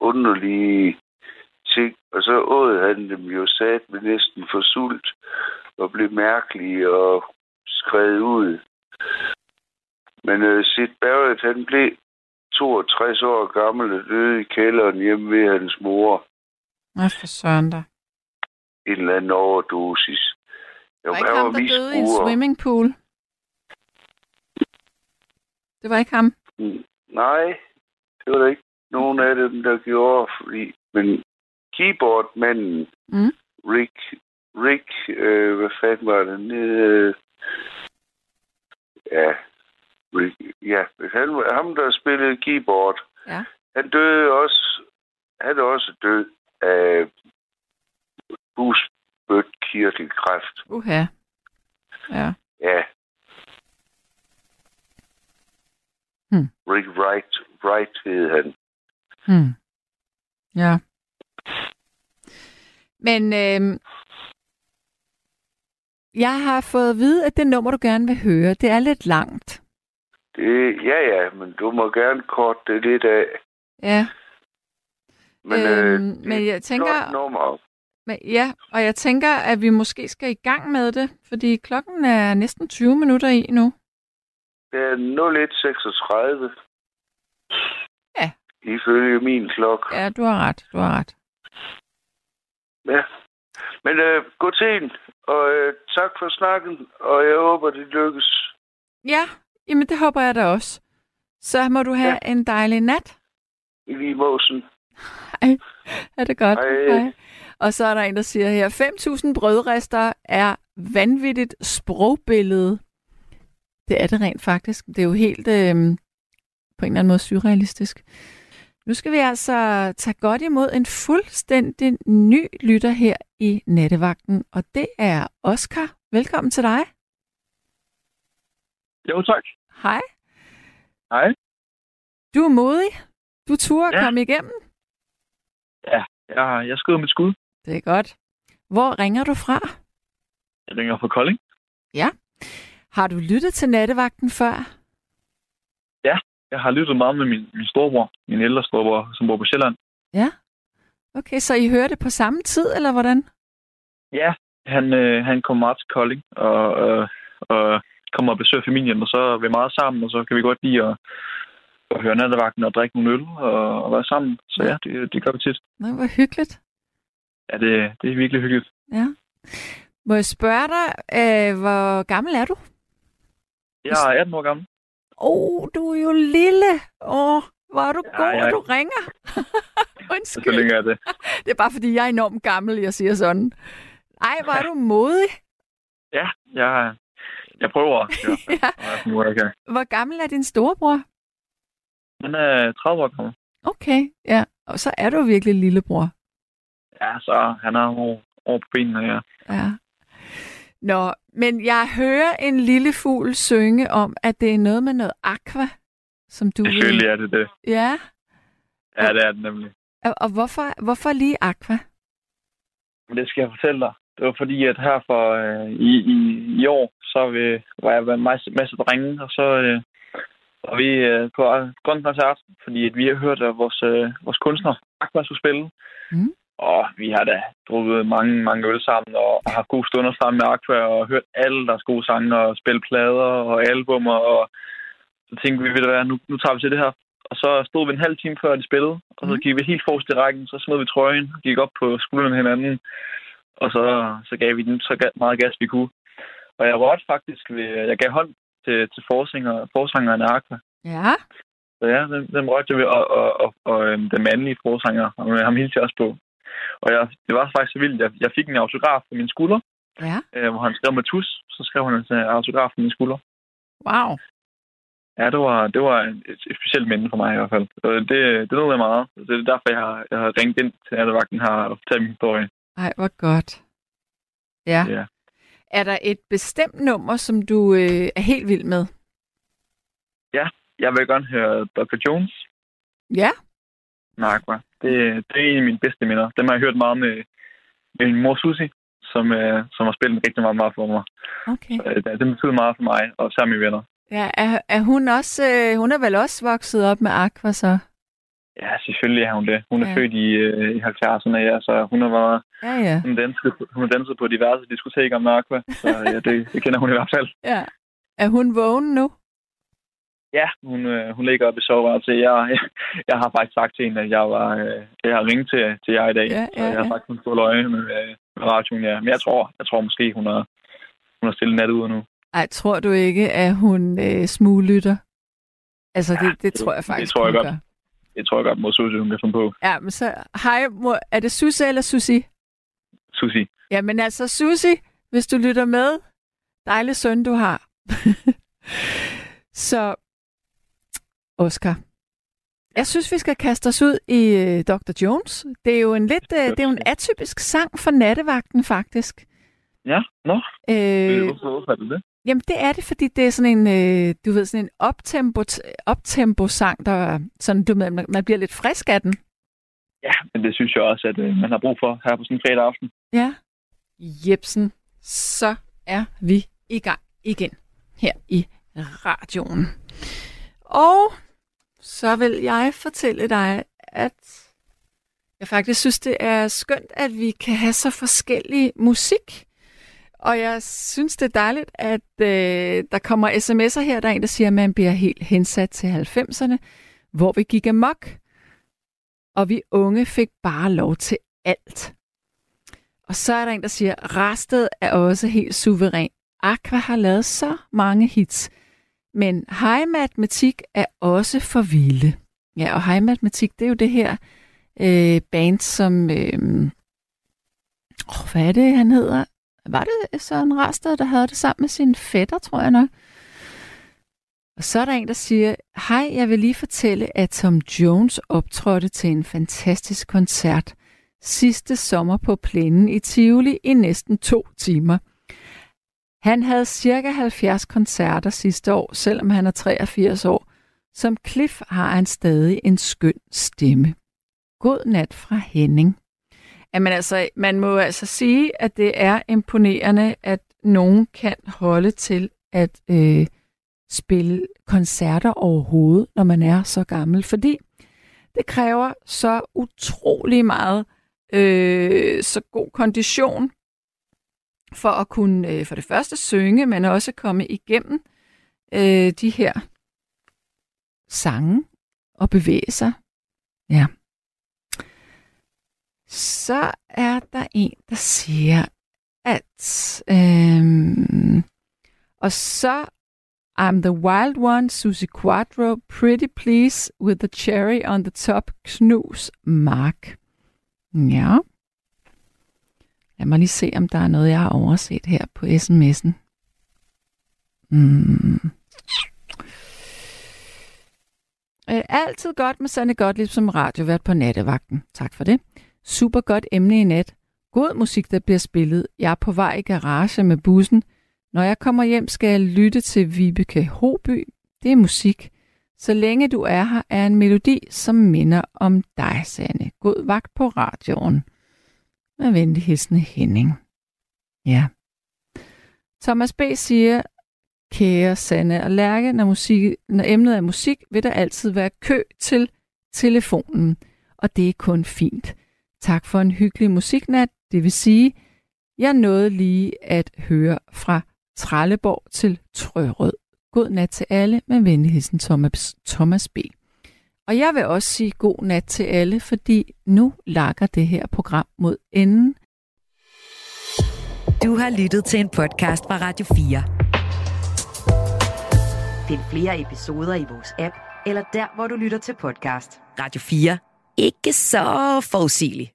Speaker 6: underlige ting. Og så åd han dem jo sat med næsten for sult og blev mærkelig og skred ud. Men øh, Sid Barrett, han blev 62 år gammel og døde i kælderen hjemme ved hans mor.
Speaker 3: Nå, for søren da.
Speaker 6: En eller anden overdosis.
Speaker 3: Det
Speaker 6: Jo,
Speaker 3: var ikke ham, der døde i en swimmingpool. Det var ikke ham.
Speaker 6: Nej, det var der ikke nogen af dem, der gjorde, fordi, men keyboardmanden,
Speaker 3: Mm.
Speaker 6: Rick, Rick, øh, hvad fanden var det, nede, øh, ja, Rick, ja, han, var- ham der spillede keyboard,
Speaker 3: Ja.
Speaker 6: han døde også, han er også død af busbødt kirtelkræft.
Speaker 3: Uha. Ja.
Speaker 6: Ja.
Speaker 3: Hmm.
Speaker 6: Rick Wright, Wright hed han.
Speaker 3: Hmm. Ja. Men øh, jeg har fået at vide, at det nummer, du gerne vil høre, det er lidt langt.
Speaker 6: Det, ja, ja, men du må gerne kort det lidt af.
Speaker 3: Ja,
Speaker 6: Men,
Speaker 3: Øhm,
Speaker 6: øh, det
Speaker 3: men
Speaker 6: er
Speaker 3: jeg
Speaker 6: et
Speaker 3: tænker-
Speaker 6: flot nummer.
Speaker 3: men, ja, og jeg tænker, at vi måske skal i gang med det, fordi klokken er næsten 20 minutter i nu.
Speaker 6: Det er 0136.
Speaker 3: Ja.
Speaker 6: Ifølge min klokke.
Speaker 3: Ja, du har ret, du har ret.
Speaker 6: Ja. Men øh, god til og øh, tak for snakken, og jeg håber, det lykkes.
Speaker 3: Ja, jamen det håber jeg da også. Så må du have en dejlig nat.
Speaker 6: I lige måsen.
Speaker 3: Er det godt?
Speaker 6: Hej.
Speaker 3: Og så er der en, der siger her, 5.000 brødrester er vanvittigt sprogbillede. Det er det rent faktisk. Det er jo helt øh, på en eller anden måde surrealistisk. Nu skal vi altså tage godt imod en fuldstændig ny lytter her i Nattevagten, og det er Oscar. Velkommen til dig.
Speaker 4: Jo, tak.
Speaker 3: Hej.
Speaker 4: Hej.
Speaker 3: Du er modig. Du turde ja.
Speaker 4: Ja.
Speaker 3: komme igennem.
Speaker 4: Jeg, har- jeg skød mit skud.
Speaker 3: Det er godt. Hvor ringer du fra?
Speaker 4: Jeg ringer fra Kolding.
Speaker 3: Har du lyttet til nattevagten før?
Speaker 4: Jeg har lyttet meget med min, min storebror, min ældre storebror, som bor på Sjælland.
Speaker 3: Okay, så I hører det på samme tid, eller hvordan?
Speaker 4: Ja, han, øh, han kom meget til Kolding og, øh, og kommer og besøger familien, og så er vi meget sammen, og så kan vi godt lide at, at høre nattevagten og drikke nogle øl og, og være sammen. Så ja, det, det gør vi tit.
Speaker 3: Nå, hvor hyggeligt.
Speaker 4: Ja, det, det er virkelig hyggeligt.
Speaker 3: Må jeg spørge dig, øh, hvor gammel er du?
Speaker 4: Jeg er 18 år gammel.
Speaker 3: Åh, oh, du er jo lille. Åh, oh, hvor er du
Speaker 4: Ja,
Speaker 3: god,
Speaker 4: jeg-
Speaker 3: at du ringer.
Speaker 4: Så
Speaker 3: Undskyld.
Speaker 4: længe er det.
Speaker 3: Det er bare, fordi jeg er enormt gammel, jeg siger sådan. Ej, hvor er du modig.
Speaker 4: Ja, jeg, jeg prøver. i hvert fald,
Speaker 3: Ja.
Speaker 4: at være sådan, hvor jeg kan.
Speaker 3: Hvor gammel er din storebror?
Speaker 4: Han er 30 år gammel.
Speaker 3: Okay, ja. Og så er du virkelig lillebror.
Speaker 4: Ja, så han er over, over på benene, ja.
Speaker 3: Ja. Nå, men jeg hører en lille fugl synge om, at det er noget med noget aqua, som du
Speaker 4: Selvfølgelig er det det.
Speaker 3: Ja,
Speaker 4: Ja, det er det nemlig.
Speaker 3: og, og hvorfor, hvorfor lige aqua?
Speaker 4: Men det skal jeg fortælle dig. Det var fordi, at her for øh, i, i, i år, så øh, var jeg med en masse, masse drenge, og så, øh,
Speaker 7: Og vi øh, på Grøn Koncert, fordi at vi har hørt, at vores, øh, vores kunstner Akbar skulle spille.
Speaker 3: Mm.
Speaker 7: Og vi har da drukket mange, mange øl sammen og har haft gode stunder sammen med Aqua og hørt alle deres gode sange og spille plader og albumer. Og så tænkte vi, ved du hvad, nu, nu tager vi til det her. Og så stod vi en halv time før, de spillede, og så
Speaker 3: Mm.
Speaker 7: gik vi helt forrest i rækken, så smed vi trøjen, gik op på skuldrene med hinanden, og så, så gav vi den så ga- meget gas, vi kunne. Og jeg rørte faktisk, ved, jeg gav hånd til, til forsanger, forsangeren af Aqua.
Speaker 3: Ja,
Speaker 7: Så ja, den, den rørte jeg ved, og, og, og, og øhm, den mandlige forsanger, og ham hilste jeg også på. Og jeg, det var faktisk så vildt, jeg, jeg fik en autograf på min skulder,
Speaker 3: ja.
Speaker 7: øh, hvor han skrev med tus, så skrev han en øh, autograf på min skulder.
Speaker 3: Wow.
Speaker 7: Ja, det var, det var et, et specielt minde for mig i hvert fald. Og det, det nåede jeg meget. Det er derfor, jeg har, jeg har ringet ind til nattevagten her og fortalt min historie.
Speaker 3: Ej, hvor godt. Ja.
Speaker 7: Ja.
Speaker 3: Er der et bestemt nummer, som du øh, er helt vild med?
Speaker 7: Jeg vil gerne høre Dr. Jones
Speaker 3: Ja.
Speaker 7: med Aqua. Det, det er en af mine bedste minder. Dem har jeg hørt meget med, med min mor Susi, som, øh, som har spillet rigtig meget, meget for mig.
Speaker 3: Okay.
Speaker 7: Øh, det- Det betyder meget for mig og sammen med venner.
Speaker 3: Ja, er, er hun også, øh, hun er vel også vokset op med Aqua, så?
Speaker 7: Ja, selvfølgelig er hun det. Hun er
Speaker 3: Ja.
Speaker 7: ja. født i, øh, i 70'erne, ja, så hun har været,
Speaker 3: Ja, ja.
Speaker 7: hun danset, hun har danset på diverse diskoteker med Aqua. Så ja, det, det kender hun i hvert fald.
Speaker 3: ja. Er hun vågen nu?
Speaker 7: Ja, hun, øh, hun ligger oppe i soveværelset. Jeg, jeg, jeg har faktisk sagt til hende, at jeg, var, øh, jeg har ringet til, til jer i dag.
Speaker 3: Ja,
Speaker 7: så
Speaker 3: ja,
Speaker 7: jeg har
Speaker 3: ja.
Speaker 7: sagt, at hun stod løje med, øh, med radioen. Ja. Men jeg tror, jeg tror måske, hun har, hun har stillet nat ude nu.
Speaker 3: Ej, tror du ikke, at hun øh, smuglytter? Altså, det, det, det tror jeg
Speaker 7: det
Speaker 3: faktisk,
Speaker 7: tror jeg
Speaker 3: hun
Speaker 7: godt.
Speaker 3: gør.
Speaker 7: Det tror jeg godt, mod Susie, hun kan finde på.
Speaker 3: Ja, men så, hej, mor, er det Susse eller Susi?
Speaker 7: Susie.
Speaker 3: Jamen altså, Susi, hvis du lytter med, dejlig søn, du har. så, Oscar, jeg synes, vi skal kaste os ud i øh, Dr. Jones. Det er jo en lidt, øh, det er jo en atypisk sang for nattevagten, faktisk.
Speaker 7: Ja, nå. Øh.
Speaker 3: Øh,
Speaker 7: Hvorfor hvorfor er det det?
Speaker 3: jamen, det er det, fordi det er sådan en, øh, du ved, sådan en optempo, optempo-sang, der er sådan, du ved, man, man bliver lidt frisk af den.
Speaker 7: Ja, men det synes jeg også, at øh, man har brug for her på sådan en fredag aften.
Speaker 3: Ja. Jebsen, så er vi i gang igen her i radioen. Og så vil jeg fortælle dig, at jeg faktisk synes, det er skønt, at vi kan have så forskellig musik. Og jeg synes, det er dejligt, at øh, der kommer sms'er her. Der er en, der siger, at man bliver helt hensat til 90'erne, hvor vi gik amok, og vi unge fik bare lov til alt. Og så er der en, der siger, Rastet er også helt suveræn. Aqua har lavet så mange hits. Men high matematik er også for vilde. Ja, og high matematik, det er jo det her øh, band, som... Øh, oh, hvad er det, han hedder? Var det Søren Rasted, der havde det sammen med sin fætter, tror jeg nok? Og så er der en, der siger, Hej, jeg vil lige fortælle, at Tom Jones optrådte til en fantastisk koncert sidste sommer på plænen i Tivoli i næsten to timer. Han havde cirka 70 koncerter sidste år, selvom han er 83 år. Som Cliff har han stadig en skøn stemme. God nat fra Henning. Jamen altså, man må altså sige, at det er imponerende, at nogen kan holde til at øh, spille koncerter overhovedet, når man er så gammel. Fordi det kræver så utrolig meget øh, så god kondition for at kunne øh, for det første synge, men også komme igennem øh, de her sange og bevæge sig. Ja. Så er der en, der siger, at øh, og så I'm the wild one, Susie Quattro, pretty please with the cherry on the top, knus Mark. Ja. Lad mig lige se, om der er noget, jeg har overset her på sms'en. Mm. Øh, altid godt med Sanne Gottlieb som radiovært på nattevagten. Tak for det. Super godt emne i nat. God musik, der bliver spillet. Jeg er på vej i garage med bussen. Når jeg kommer hjem, skal jeg lytte til Vibeke Hoby. Det er musik. Så længe du er her, er en melodi, som minder om dig, Sanne. God vagt på radioen. Med venlig hilsen Henning. Ja. Thomas B. siger, Kære Sanne og Lærke, når, musik, når emnet er musik, vil der altid være kø til telefonen, og det er kun fint. Tak for en hyggelig musiknat, det vil sige, jeg nåede lige at høre fra Trelleborg til Trørød. God nat til alle, med venligheden Thomas, Thomas B. Og jeg vil også sige god nat til alle, fordi nu lakker det her program mod enden.
Speaker 2: Du har lyttet til en podcast fra Radio 4. Find flere episoder i vores app, eller der, hvor du lytter til podcast. Radio 4. Ikke så forudsigeligt.